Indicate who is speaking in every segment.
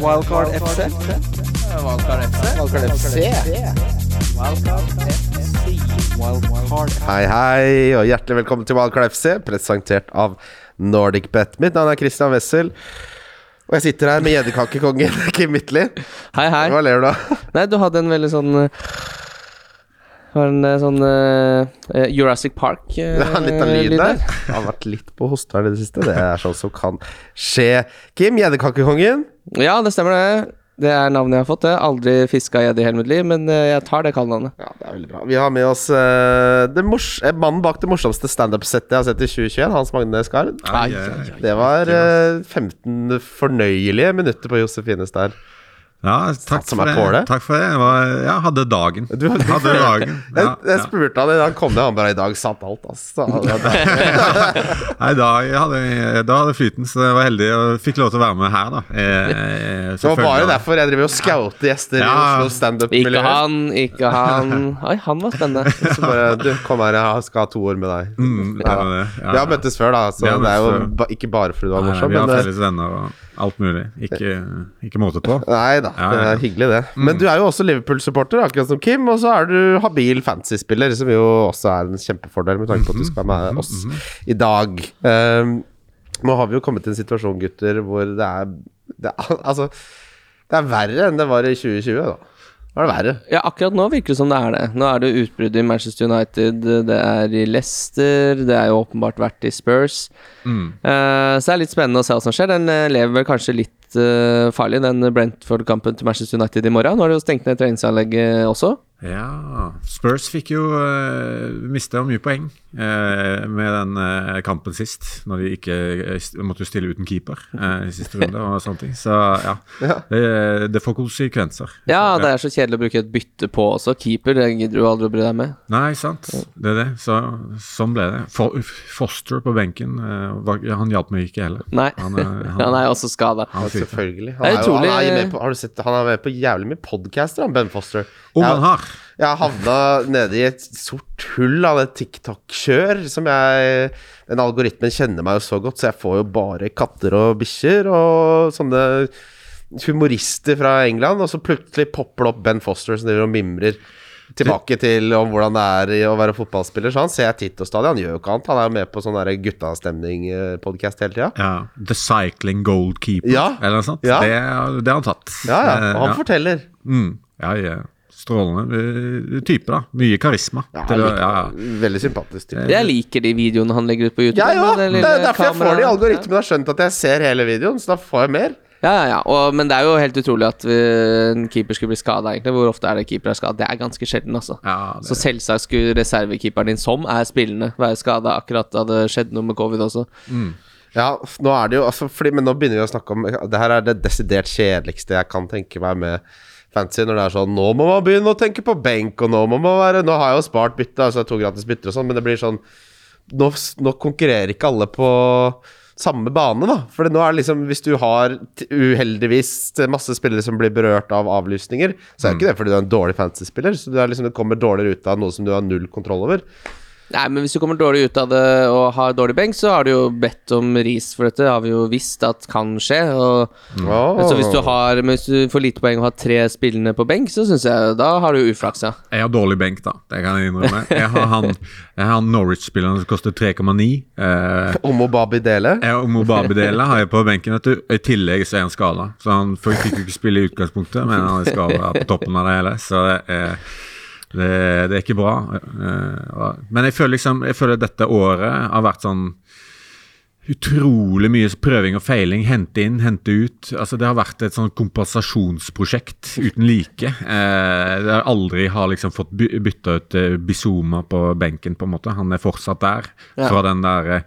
Speaker 1: Wildcard FC.
Speaker 2: Valgkar FC.
Speaker 1: Wildcard FC. Wildcard
Speaker 3: Hei, hei, og hjertelig velkommen til Wildcard FC, presentert av NordicBet. Mitt navn er Christian Wessel, og jeg sitter her med gjedderkakekongen Kim Midtly.
Speaker 2: Hei, hei.
Speaker 3: Hva ler du av?
Speaker 2: Nei, du hadde en veldig sånn eh, det var en eh, sånn eh, eh, Jurassic Park eh,
Speaker 3: Det er litt av
Speaker 2: lyd
Speaker 3: lyden der. Jeg har vært litt på hosta i det siste. Det er sånn som kan skje. Kim, gjedderkakekongen.
Speaker 2: Ja, det stemmer det. Det er navnet jeg har fått. Jeg har aldri fiska gjedde i hele mitt liv, men eh, jeg tar det kallenavnet.
Speaker 3: Ja, det er veldig bra. Vi har med oss eh, det mors eh, mannen bak det morsomste standup-settet jeg har sett i 2021, Hans Magne Skard.
Speaker 4: Ai, ai, ai.
Speaker 3: Det var eh, 15 fornøyelige minutter på Josefines der.
Speaker 4: Ja, takk
Speaker 3: som
Speaker 4: for
Speaker 3: er
Speaker 4: det.
Speaker 3: påle.
Speaker 4: Takk for det. Jeg var, ja, hadde dagen.
Speaker 3: Du-
Speaker 4: hadde dagen.
Speaker 3: Jeg,
Speaker 4: Ja,
Speaker 3: jeg
Speaker 4: ja.
Speaker 3: spurte han, han kom ned, han bare I dag satt alt, altså. Ja, det-
Speaker 4: Nei, da jeg hadde da hadde flyten, så jeg var heldig og fikk lov til å være med her, da. Eh, eh,
Speaker 3: Det var bare
Speaker 4: selvfølgelig.
Speaker 3: derfor jeg driver og scouter gjester
Speaker 4: Ja.
Speaker 3: i Oslo
Speaker 2: Ikke
Speaker 3: standup-miljø.
Speaker 2: han, ikke han. Oi, han var spennende.
Speaker 3: Så bare Du, kom her, jeg skal ha to ord med deg.
Speaker 4: Mm, det var det. Ja.
Speaker 3: Vi har møttes før, da, så
Speaker 4: Vi har
Speaker 3: det er jo
Speaker 4: møttes før.
Speaker 3: ba, ikke bare fordi du var
Speaker 4: Nei,
Speaker 3: morsom,
Speaker 4: Vi har
Speaker 3: men eh,
Speaker 4: felles venner og alt mulig. Ikke, ikke måte på.
Speaker 3: Nei da,
Speaker 4: Ja, Mm.
Speaker 3: det
Speaker 4: ja, ja.
Speaker 3: er hyggelig det. Men du er jo også Liverpool-supporter, akkurat som Kim. Og så er du habil fantasy-spiller, som jo også er en kjempefordel med tanke på at
Speaker 4: Mhm,
Speaker 3: du skal være med oss i dag. Um, nå har vi jo kommet til en situasjon, gutter, hvor det er, det er Altså, det er verre enn det var i 2020, da. Da var det verre.
Speaker 2: Ja, akkurat nå virker det som det er det. Nå er det jo utbrudd i Manchester United, det er i Leicester, det er jo åpenbart vært i Spurs. Eh, så det er litt spennende å se hva som skjer. Den eh, lever vel kanskje litt eh, farlig, den Brentford-kampen til Manchester United i morgen. Nå har de jo stengt ned treningsanlegget også.
Speaker 4: Ja Spurs fikk jo uh, mista mye poeng eh, med den eh, kampen sist, når de ikke eh, st- måtte jo stille uten keeper eh, i siste runde og sånne ting. Så ja, det, det får konsekvenser.
Speaker 2: Ja, det er så kjedelig å bruke et bytte på også. Keeper det gidder du aldri å bry deg med.
Speaker 4: Nei, sant. Det er det. Så, sånn ble det. For, Foster på benken, eh, var, ja, han hjalp meg ikke heller.
Speaker 2: Nei,
Speaker 4: Han, eh, han-
Speaker 2: han er jo også skada.
Speaker 4: Han
Speaker 3: Ja,
Speaker 4: fyrte.
Speaker 3: selvfølgelig.
Speaker 2: Det
Speaker 3: Han
Speaker 2: er
Speaker 3: er, jo, han er,
Speaker 2: utrolig-
Speaker 3: jo med på, har du sett, han er med på jævlig mye podcaster, han Ben Foster.
Speaker 4: Om
Speaker 3: Jeg-
Speaker 4: han har!
Speaker 3: Jeg havna nede i et sort hull av det TikTok-kjør som jeg Den algoritmen kjenner meg jo så godt, så jeg får jo bare katter og bikkjer og sånne humorister fra England, og så plutselig popper det opp Ben Foster som driver og mimrer tilbake til om hvordan det er i å være fotballspiller. Så han ser jeg titt og stadig. Han gjør jo ikke annet. Han er jo med på sånn guttastemning-podkast hele tida.
Speaker 4: Ja, The Cycling Goalkeeper,
Speaker 3: Ja.
Speaker 4: eller noe sånt.
Speaker 3: Ja.
Speaker 4: Det, det har han tatt.
Speaker 3: Ja, ja.
Speaker 4: Eh,
Speaker 3: Og han forteller.
Speaker 4: Mm. Ja, ja. Strålende eh, type, da. Mye karisma.
Speaker 3: Ja,
Speaker 4: til å, ja, ja.
Speaker 3: Veldig sympatisk. Typ.
Speaker 2: Jeg liker de videoene han legger ut på YouTube.
Speaker 3: Jeg òg!
Speaker 2: med
Speaker 3: Det
Speaker 2: lille
Speaker 3: er derfor jeg får det i
Speaker 2: kameraet.
Speaker 3: algoritmen. Jeg har skjønt at jeg ser hele videoen, så da får jeg mer.
Speaker 2: Ja, ja, ja. Og, men det er jo helt utrolig at eh, en keeper skulle bli skada, egentlig. Hvor ofte er det keeper er skada? Det er ganske sjelden, altså.
Speaker 4: Ja, det-
Speaker 2: Så selvsagt skulle reservekeeperen din, som er spillende, være skada akkurat da det skjedde noe med covid også.
Speaker 3: Ja, f- nå er det jo altså, fordi, Men nå begynner vi å snakke om Det her er det desidert kjedeligste jeg kan tenke meg med fancy. Når det er sånn Nå må man begynne å tenke på benk, og nå må man være Nå har jeg jo spart bytte, altså to gratis bytter og sånn, men det blir sånn nå, s- nå konkurrerer ikke alle på samme bane, da. For nå er det liksom Hvis du har t- uheldigvis masse spillere som blir berørt av avlysninger,
Speaker 2: Mm.
Speaker 3: så er jo ikke det fordi du er en dårlig fantasy-spiller. Så du, er liksom, du kommer dårligere ut av noe som du har null kontroll over.
Speaker 2: Nei, men hvis du kommer dårlig ut av det og har dårlig benk, så har du jo bedt om ris for dette. Det har vi jo visst at kan skje. Og,
Speaker 3: Åh.
Speaker 2: Så hvis du, har, Mm. men hvis du får lite poeng og har tre spillende på benk, så syns jeg da har du uflaks, ja.
Speaker 4: Jeg har dårlig benk, da. Det kan jeg innrømme. Jeg har han, jeg har han Norwich-spilleren som koster 3,9. Eh,
Speaker 3: Om Obabi Dele?
Speaker 4: jeg og Mobabe Dele har jeg på benken. Vet du. I tillegg så er han skada. Så han f- fikk jo ikke spille i utgangspunktet, men han er skada på toppen av det hele. Så det er, det, det er ikke bra. Eh, og- Men jeg føler liksom Jeg føler dette året har vært sånn utrolig mye prøving og feiling. Hente inn, hente ut. Altså Det har vært et sånn kompensasjonsprosjekt uten like. Eh, det har aldri har liksom fått by bytta ut eh, Bizuma på benken, på en måte. Han er fortsatt der
Speaker 2: Ja.
Speaker 4: fra den der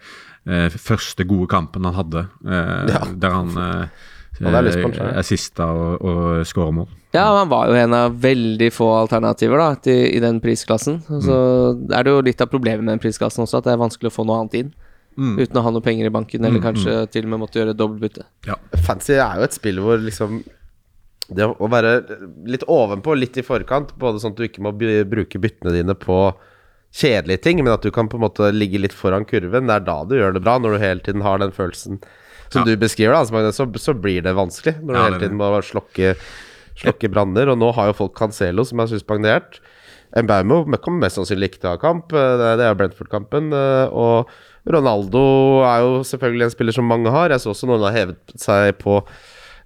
Speaker 4: eh, første gode kampen han hadde, eh, der han eh,
Speaker 3: Ja, det er litt sponsor, ja.
Speaker 4: eh, assista og, og skårer mål.
Speaker 2: Ja, han var jo en av veldig få alternativer da, til, i den prisklassen. Og Så
Speaker 3: Mm.
Speaker 2: er det jo litt av problemet med den prisklassen også, at det er vanskelig å få noe annet inn.
Speaker 3: Mm.
Speaker 2: Uten å ha noe penger i banken, eller kanskje til og med måtte gjøre et dobbeltbytte.
Speaker 4: Ja.
Speaker 3: Fancy er jo et spill hvor liksom det å være litt ovenpå, litt i forkant, både sånn at du ikke må by- bruke byttene dine på kjedelige ting, men at du kan på en måte ligge litt foran kurven. Det er da du gjør det bra, når du hele tiden har den følelsen som du beskriver, da, Hans Magne, så, så blir det vanskelig når du
Speaker 4: Ja,
Speaker 3: hele
Speaker 4: det er
Speaker 3: tiden må slokke, slokke branner. Og nå har jo folk Cancelo, som er suspendert. Embaumo kommer mest sannsynlig ikke til å ha kamp. eh, Det det er jo Brentford-kampen. eh, Og Ronaldo er jo selvfølgelig en spiller som mange har. Jeg så også noen har hevet seg på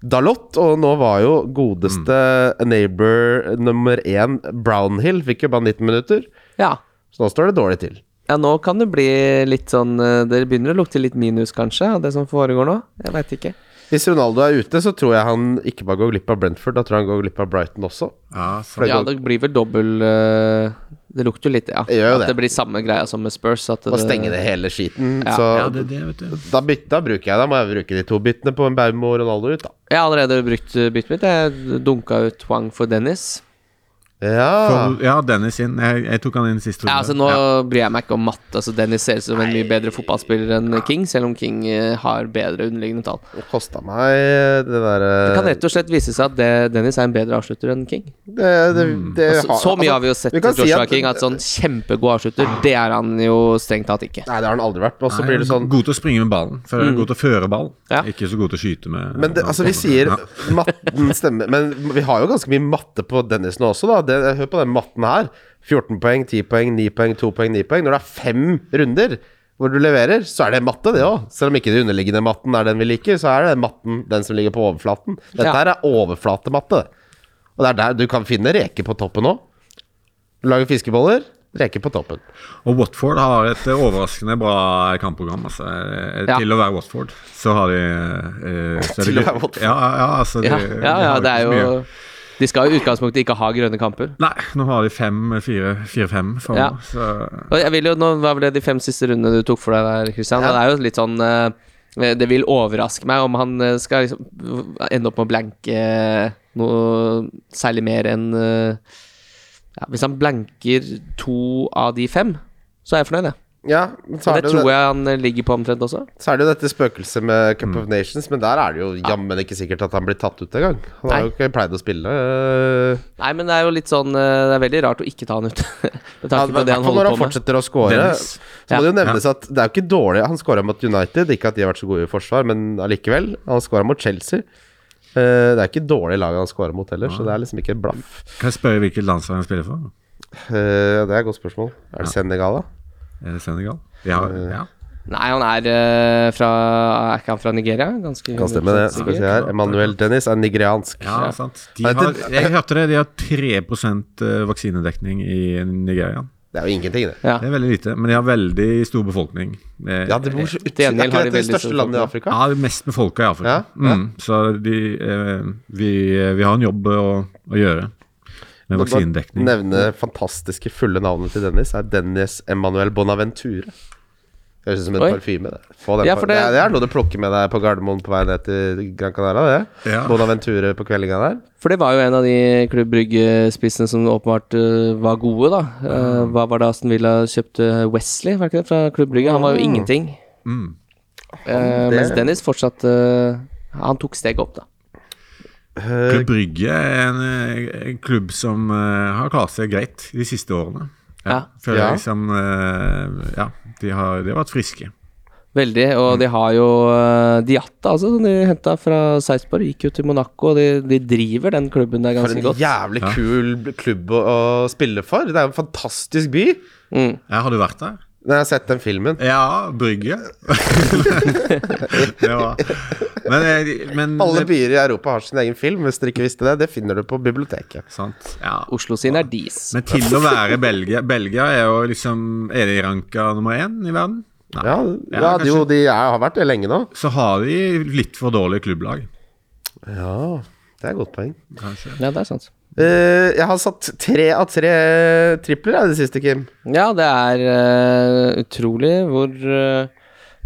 Speaker 3: Dalot, og nå var jo godeste neighbor nummer én, Brownhill, fikk jo bare 19 minutter.
Speaker 2: Ja.
Speaker 3: Så nå står det dårlig til.
Speaker 2: ja, nå kan det bli litt sånn eh, Det begynner å lukte litt minus, kanskje, av det som foregår nå. Jeg veit ikke.
Speaker 3: Hvis Ronaldo er ute, så tror jeg han ikke bare går glipp av Brentford, da tror jeg han går glipp av Brighton også.
Speaker 4: Ja, så,
Speaker 3: For det
Speaker 2: Ja,
Speaker 3: går-
Speaker 2: det blir vel dobbel eh, Det lukter jo litt, ja.
Speaker 3: Det gjør jo
Speaker 2: at
Speaker 3: det.
Speaker 2: det blir samme greia som med Spurs. At
Speaker 3: Og stenge det hele skiten.
Speaker 2: Ja.
Speaker 3: Så
Speaker 4: ja, det er det, vet du.
Speaker 3: da, byt, da bruker jeg Da må jeg bruke de to byttene på en Baumo og Ronaldo ut, da.
Speaker 2: Jeg har allerede brukt eh, byttet mitt. Jeg dunka ut Wang for Dennis.
Speaker 3: Ja.
Speaker 4: For, ja, Dennis inn. Jeg, jeg tok han inn sist. runde.
Speaker 2: Ja, altså Nå
Speaker 4: Ja.
Speaker 2: bryr jeg meg ikke om matte. Altså Dennis ser ut som en mye bedre fotballspiller enn King, selv om King eh, har bedre underliggende tall.
Speaker 3: Det kosta meg eh, det
Speaker 2: Det kan
Speaker 3: derre
Speaker 2: rett og slett vise seg at det, Dennis er en bedre avslutter enn King.
Speaker 3: det, det, det
Speaker 2: Så, Mm.
Speaker 3: har-
Speaker 2: så mye
Speaker 3: altså,
Speaker 2: har vi jo sett
Speaker 3: vi
Speaker 2: til
Speaker 3: kan si
Speaker 2: Joshua
Speaker 3: at-
Speaker 2: King, at sånn kjempegod avslutter, det er han jo strengt tatt ikke.
Speaker 3: Nei, det har han aldri vært. Og så
Speaker 4: Nei,
Speaker 3: blir det sånn
Speaker 4: God til å springe med ballen. For God til å føre ball.
Speaker 2: Mm. Ja.
Speaker 4: Ikke så god til å skyte med
Speaker 3: Men det, altså, vi sier
Speaker 4: Ja.
Speaker 3: matten stemmer, men vi har jo ganske mye matte på Dennis nå også, da. Det, hør på den matten her. 14 poeng, 10 poeng, 9 poeng, 2 poeng, 9 poeng. Når det er fem runder hvor du leverer, så er det matte, det òg. Selv om ikke den underliggende matten er den vi liker, så er det matten den som ligger på overflaten. Dette
Speaker 2: Ja.
Speaker 3: her er overflatematte. Og det er der du kan finne reker på toppen òg. Du lager fiskeboller, reker på toppen.
Speaker 4: Og Watford har et eh, overraskende bra kampprogram. Altså. Eh,
Speaker 2: Ja.
Speaker 4: Til å være Watford, så har de eh, så er
Speaker 3: Til å være
Speaker 4: det gøy.
Speaker 3: Watford.
Speaker 4: Ja, ja, altså, de,
Speaker 2: Ja,
Speaker 4: de
Speaker 2: ja, ja
Speaker 4: har
Speaker 2: det
Speaker 4: ikke
Speaker 2: er
Speaker 4: så
Speaker 2: jo
Speaker 4: mye.
Speaker 2: De skal jo i utgangspunktet ikke ha grønne kamper.
Speaker 4: Nei, nå har de fem, fire, fire fem for
Speaker 2: Ja.
Speaker 4: nå, så
Speaker 2: Og jeg vil jo, nå var vel det de fem siste rundene du tok for deg der, Christian. og Det er jo litt sånn eh, Det vil overraske meg om han eh, skal liksom ende opp med å blanke eh, noe særlig mer enn eh, ja, Hvis han blanker to av de fem, så er jeg fornøyd, jeg.
Speaker 3: Ja, men
Speaker 2: Og
Speaker 3: så er
Speaker 2: det
Speaker 3: det,
Speaker 2: tror jeg han eh, ligger på omtrent også.
Speaker 3: så er det jo dette spøkelset med Cup of Nations, men der er det jo jammen ikke sikkert at han blir tatt ut engang. Han har
Speaker 2: Nei.
Speaker 3: jo ikke pleid å spille. øh,
Speaker 2: Nei, men det er jo litt sånn eh, Det er veldig rart å ikke ta han ut. Med
Speaker 3: Ja,
Speaker 2: tanke på det han
Speaker 3: hvertfall når
Speaker 2: holder på
Speaker 3: han
Speaker 2: med.
Speaker 3: fortsetter å score.
Speaker 4: Dennis.
Speaker 3: Så må det jo
Speaker 4: Ja.
Speaker 3: nevnes at det er jo ikke dårlig Han skåra mot United, ikke at de har vært så gode i forsvar, men allikevel. Han skåra mot Chelsea. Eh, det er ikke dårlig lag han skåra mot heller, så det er liksom ikke et blaff.
Speaker 4: Kan jeg spørre hvilket landslag han spiller for?
Speaker 3: Eh, det er et godt spørsmål. Er det Senegal, da?
Speaker 4: Er det Eh, Senegal? Ja,
Speaker 3: Eh,
Speaker 4: ja.
Speaker 2: Nei, han er eh, fra Er ikke han fra Nigeria? Ganske
Speaker 3: Kan stemme, det. Skal vi se her.
Speaker 4: sikkert.
Speaker 3: Emanuel Dennis er nigeriansk.
Speaker 4: ja sant. De
Speaker 3: Nei,
Speaker 4: har,
Speaker 3: det-
Speaker 4: jeg hørte det, de har 3 vaksinedekning i Nigeria.
Speaker 3: Det er jo ingenting, det.
Speaker 2: Ja.
Speaker 4: Det er veldig lite, men de har veldig stor befolkning. Eh,
Speaker 3: Ja, det bor så utsiden.
Speaker 2: gjengjeld
Speaker 3: Er ikke
Speaker 2: har de
Speaker 3: dette det
Speaker 2: veldig
Speaker 3: største
Speaker 2: stor
Speaker 3: landet
Speaker 2: befolkning.
Speaker 3: i Afrika?
Speaker 4: Ja, det mest befolka i Afrika.
Speaker 3: Ja,
Speaker 4: Mm, så de, eh, vi, vi har en jobb å, å gjøre med
Speaker 3: Må bare
Speaker 4: vaksinedekning.
Speaker 3: Nevne fantastiske fulle navnet til Dennis er Dennis Emanuel Bonaventure. Høres ut som en
Speaker 2: Oi.
Speaker 3: parfyme. Det. Få den
Speaker 2: Ja,
Speaker 3: par-
Speaker 2: for
Speaker 3: det...
Speaker 2: det-
Speaker 3: er- det er noe du plukker med deg på Gardermoen på vei ned til Gran Canaria. Det.
Speaker 4: Ja.
Speaker 3: Bonaventure på kveldinga der.
Speaker 2: For det var jo en av de Klubb Brygge-spissene som åpenbart eh, var gode, da. Eh,
Speaker 3: Mm.
Speaker 2: hva var det Aston Villa kjøpte Wesley var det ikke det, fra Klubb Brygge? Han var jo ingenting.
Speaker 4: Mm.
Speaker 2: Eh,
Speaker 3: det-
Speaker 2: mens Dennis fortsatt eh, Han tok steget opp, da.
Speaker 4: Klubb Brygge er en, eh, en klubb som eh, har klart seg greit de siste årene.
Speaker 2: Ja.
Speaker 4: Føler
Speaker 3: Ja.
Speaker 4: jeg liksom eh, Ja, de har, de har vært friske.
Speaker 2: Veldig.
Speaker 3: Mm.
Speaker 2: Og de har jo eh, Diatta, altså, som de henta fra Sarpsborg. Gikk jo til Monaco, og de, de driver den klubben der
Speaker 3: For
Speaker 2: ganske
Speaker 3: en
Speaker 2: godt.
Speaker 3: jævlig kul b- klubb å, å spille for. Det er jo en fantastisk by.
Speaker 4: Ja, har du vært der?
Speaker 3: Når jeg har sett den filmen.
Speaker 4: Ja, Brygge. det var Men, eh, de- men
Speaker 3: Alle byer i Europa har sin egen film, hvis dere ikke visste det. Det finner du på biblioteket.
Speaker 4: Sant. Ja.
Speaker 2: Oslo sin er dis.
Speaker 4: Men til å være Belgia Belgia er jo liksom Er de ranka nummer én i verden? Nei.
Speaker 3: Ja,
Speaker 4: Ja,
Speaker 3: ja,
Speaker 4: kanskje.
Speaker 3: jo, de er, har vært det lenge nå.
Speaker 4: Så har de litt for dårlige klubblag.
Speaker 3: Ja, det er et godt poeng.
Speaker 4: Kanskje.
Speaker 2: Ja, det er sant.
Speaker 3: Eh, jeg har satt tre av tre tripler jeg, i det siste, Kim.
Speaker 2: Ja, det er eh, utrolig hvor eh,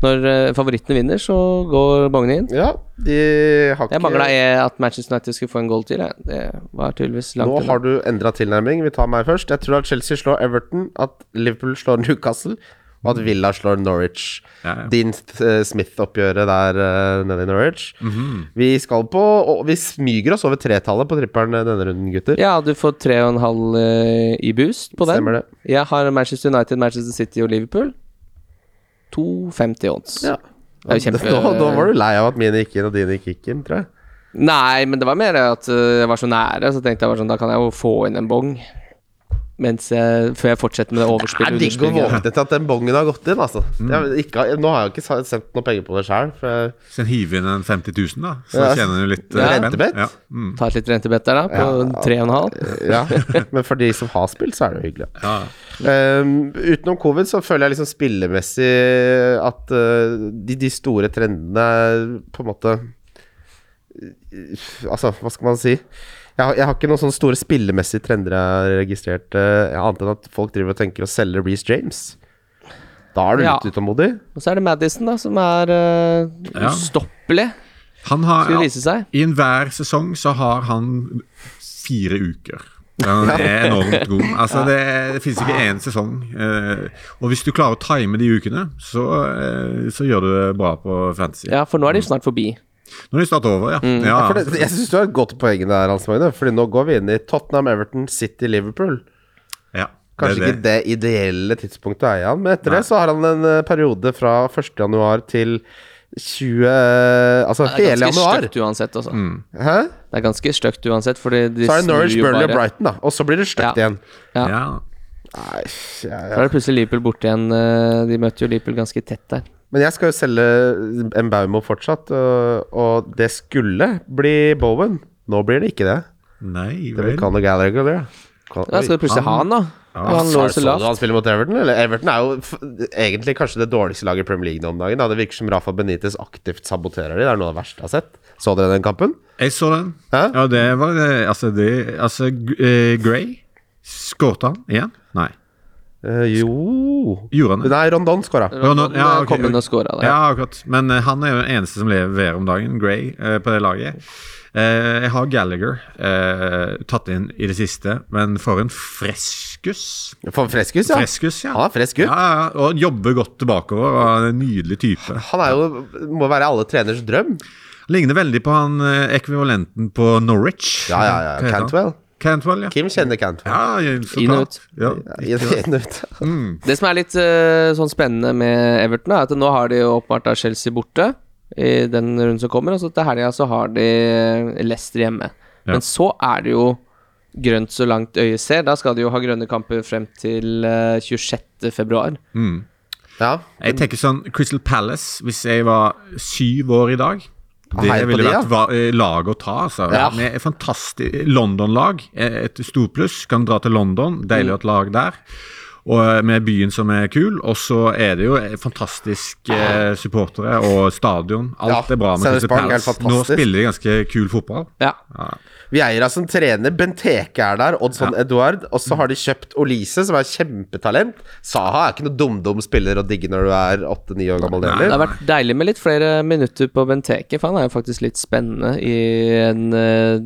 Speaker 2: Når eh, favorittene vinner, så går bongene inn.
Speaker 3: Ja, de har ikke
Speaker 2: Jeg mangla at Manchester United skulle få en goal til. jeg. Det var tydeligvis langt
Speaker 3: Nå
Speaker 2: unna.
Speaker 3: har du endra tilnærming. Vi tar meg først. Jeg tror at Chelsea slår Everton, at Liverpool slår Newcastle, og at Villa slår Norwich.
Speaker 4: Ja, ja.
Speaker 3: Dean eh, Smith-oppgjøret der eh, nede i Norwich.
Speaker 4: Mhm.
Speaker 3: Vi skal på og Vi smyger oss over tretallet på trippelen eh, denne runden, gutter.
Speaker 2: Ja, du får 3,5 eh, i boost på den.
Speaker 3: Stemmer det.
Speaker 2: Jeg har Manchester United, Manchester City og Liverpool. 2,50 odds.
Speaker 3: Ja.
Speaker 2: Det er jo kjempe...
Speaker 3: Nå, nå var du lei av at mine gikk inn, og dine ikke gikk inn, tror jeg.
Speaker 2: Nei, men det var mer at øh, jeg var så nære, så tenkte jeg bare sånn, da kan jeg jo få inn en bong. Mens jeg, før jeg fortsetter med det
Speaker 3: Det er
Speaker 2: overspillet.
Speaker 3: digg å
Speaker 2: underspillet.
Speaker 3: våkne til at den bongen har gått inn, altså. Jeg, ikke, nå har jeg jo ikke sa- sendt noe penger på det sjøl, for jeg
Speaker 4: Så hive inn en 50 000, da. Så
Speaker 3: Ja.
Speaker 4: tjener du litt eh,
Speaker 2: Ja.
Speaker 4: spenn.
Speaker 3: Rentebett?
Speaker 4: Ja. Mm.
Speaker 2: Ta et litt rentebett der, da, på tre og en halv.
Speaker 3: Ja, men for de som har spilt, så er det jo hyggelig.
Speaker 4: Ja.
Speaker 3: Ehm, utenom covid så føler jeg liksom spillemessig at eh, de, de store trendene er på en måte Altså, hva skal man si? Jeg har, jeg har ikke noen sånne store spillemessige trender jeg har registrert, eh, annet enn at folk driver og tenker å selge Reece James. Da er du
Speaker 2: Ja.
Speaker 3: litt utålmodig.
Speaker 2: Og så er det Madison, da, som er øh,
Speaker 4: Ja.
Speaker 2: ustoppelig,
Speaker 4: Han har
Speaker 2: skulle vise seg.
Speaker 4: I enhver sesong så har han fire uker. Han er enormt god. Altså, det, det finnes ikke én sesong. Eh, og hvis du klarer å time de ukene, så, eh, så gjør du det bra på fantasy.
Speaker 2: Ja, for nå er de snart forbi.
Speaker 4: Når de starter over, ja. ja.
Speaker 3: Mm. For det, jeg syns du har et godt poeng der, Hans Magne, Fordi nå går vi inn i Tottenham, Everton, City, Liverpool.
Speaker 4: ja.
Speaker 3: Kanskje
Speaker 4: det er
Speaker 3: ikke det ideelle tidspunktet er han, men etter det så har han en eh, periode fra 1. januar til 20 Altså
Speaker 2: Det er
Speaker 3: hele
Speaker 2: ganske
Speaker 3: januar.
Speaker 2: støkt uansett, altså.
Speaker 4: Mm.
Speaker 3: Hæ?
Speaker 2: Det er ganske støkt uansett, fordi de
Speaker 3: Så er det Norwich,
Speaker 2: snur jo
Speaker 3: Burnley og
Speaker 2: bare-
Speaker 3: Brighton, da. Og så blir det stygt
Speaker 2: Ja.
Speaker 3: igjen.
Speaker 2: Ja.
Speaker 4: Ja.
Speaker 3: Nei, ja,
Speaker 2: Da
Speaker 3: ja.
Speaker 2: er det plutselig Liverpool borte igjen. øh, De møter jo Liverpool ganske tett der.
Speaker 3: Men jeg skal jo selge eh, Mbaumo fortsatt, og, og det skulle bli Bowen. Nå blir det ikke det.
Speaker 4: Nei
Speaker 3: Det blir
Speaker 4: vel.
Speaker 3: Conor Gallagher. Det. Con-
Speaker 2: Da skal du plutselig ha han, da. Og han lå
Speaker 3: Sa-
Speaker 2: så
Speaker 3: så du
Speaker 2: lavt.
Speaker 3: han spiller mot Everton? Eller? Everton er jo f egentlig kanskje det dårligste laget i Premier League nå om dagen. Da. Det virker som Rafa Benitez aktivt saboterer de. Det er noe av det verste jeg har sett. Så dere den kampen?
Speaker 4: Jeg så den.
Speaker 3: Hæ?
Speaker 4: Ja, det var eh, Altså, det Altså, G- eh, Gray Skåret han igjen? Nei.
Speaker 3: Eh, jo
Speaker 4: Gjorde han det?
Speaker 3: Nei, Rondon skåra.
Speaker 4: Rondon, ja,
Speaker 2: Han
Speaker 4: ok,
Speaker 2: kom inn
Speaker 4: ok.
Speaker 2: og scora der.
Speaker 4: Ja, akkurat. Men eh, han er jo den eneste som lever om dagen, Gray, eh, på det laget. Eh, jeg har Gallagher eh, tatt inn i det siste, men for en freskus.
Speaker 3: For Freskus, ja.
Speaker 4: Freskus, ja.
Speaker 3: Han er frisk gutt.
Speaker 4: Ja, ja, ja. og jobber godt tilbakeover. Og er en nydelig type.
Speaker 3: Han er jo må være alle treners drøm.
Speaker 4: Ligner veldig på han eh, ekvivalenten på Norwich.
Speaker 3: Ja, ja,
Speaker 4: Hva
Speaker 3: ja.
Speaker 4: heter han?
Speaker 3: Cantwell.
Speaker 4: Cantwell, ja.
Speaker 3: Kim kjenner Cantwell.
Speaker 4: ja, ja, så
Speaker 2: Inn og
Speaker 4: klart. Ja.
Speaker 3: Ja, inn og ut.
Speaker 2: Det som er litt eh, sånn spennende med Everton, er at nå har de jo åpenbart da Chelsea borte i den runden som kommer, og så til helga så har de eh, Leicester hjemme.
Speaker 4: Ja.
Speaker 2: Men så er det jo grønt så langt øyet ser. Da skal de jo ha grønne kamper frem til eh, 26. februar.
Speaker 3: Ja.
Speaker 4: Jeg tenker sånn Crystal Palace, hvis jeg var syv år i dag det
Speaker 3: heier på
Speaker 4: ville
Speaker 3: de, ja.
Speaker 4: vært va- eh, lag å ta, altså.
Speaker 3: Ja.
Speaker 4: Med et fantastisk London-lag, eh, et storpluss. Kan dra til London,
Speaker 3: Mm.
Speaker 4: deilig å ha et lag der. Og eh, med byen som er kul. Og så er det jo eh, fantastisk eh, supportere og stadion. Alt
Speaker 3: Ja,
Speaker 4: er bra med
Speaker 3: Sellers
Speaker 4: Crystal
Speaker 3: Park er
Speaker 4: Palace. Nå
Speaker 3: fantastisk.
Speaker 4: spiller de ganske kul fotball.
Speaker 2: Ja.
Speaker 3: Vieira som altså trener, Benteke er der, Oddson Eduard. Og så har de kjøpt Olise, som er kjempetalent. Saha er ikke noe dumdum spiller å digge når du er åtte-ni år gammel.
Speaker 2: Det
Speaker 3: heller.
Speaker 2: har vært deilig med litt flere minutter på Benteke, for han er jo faktisk litt spennende i en eh,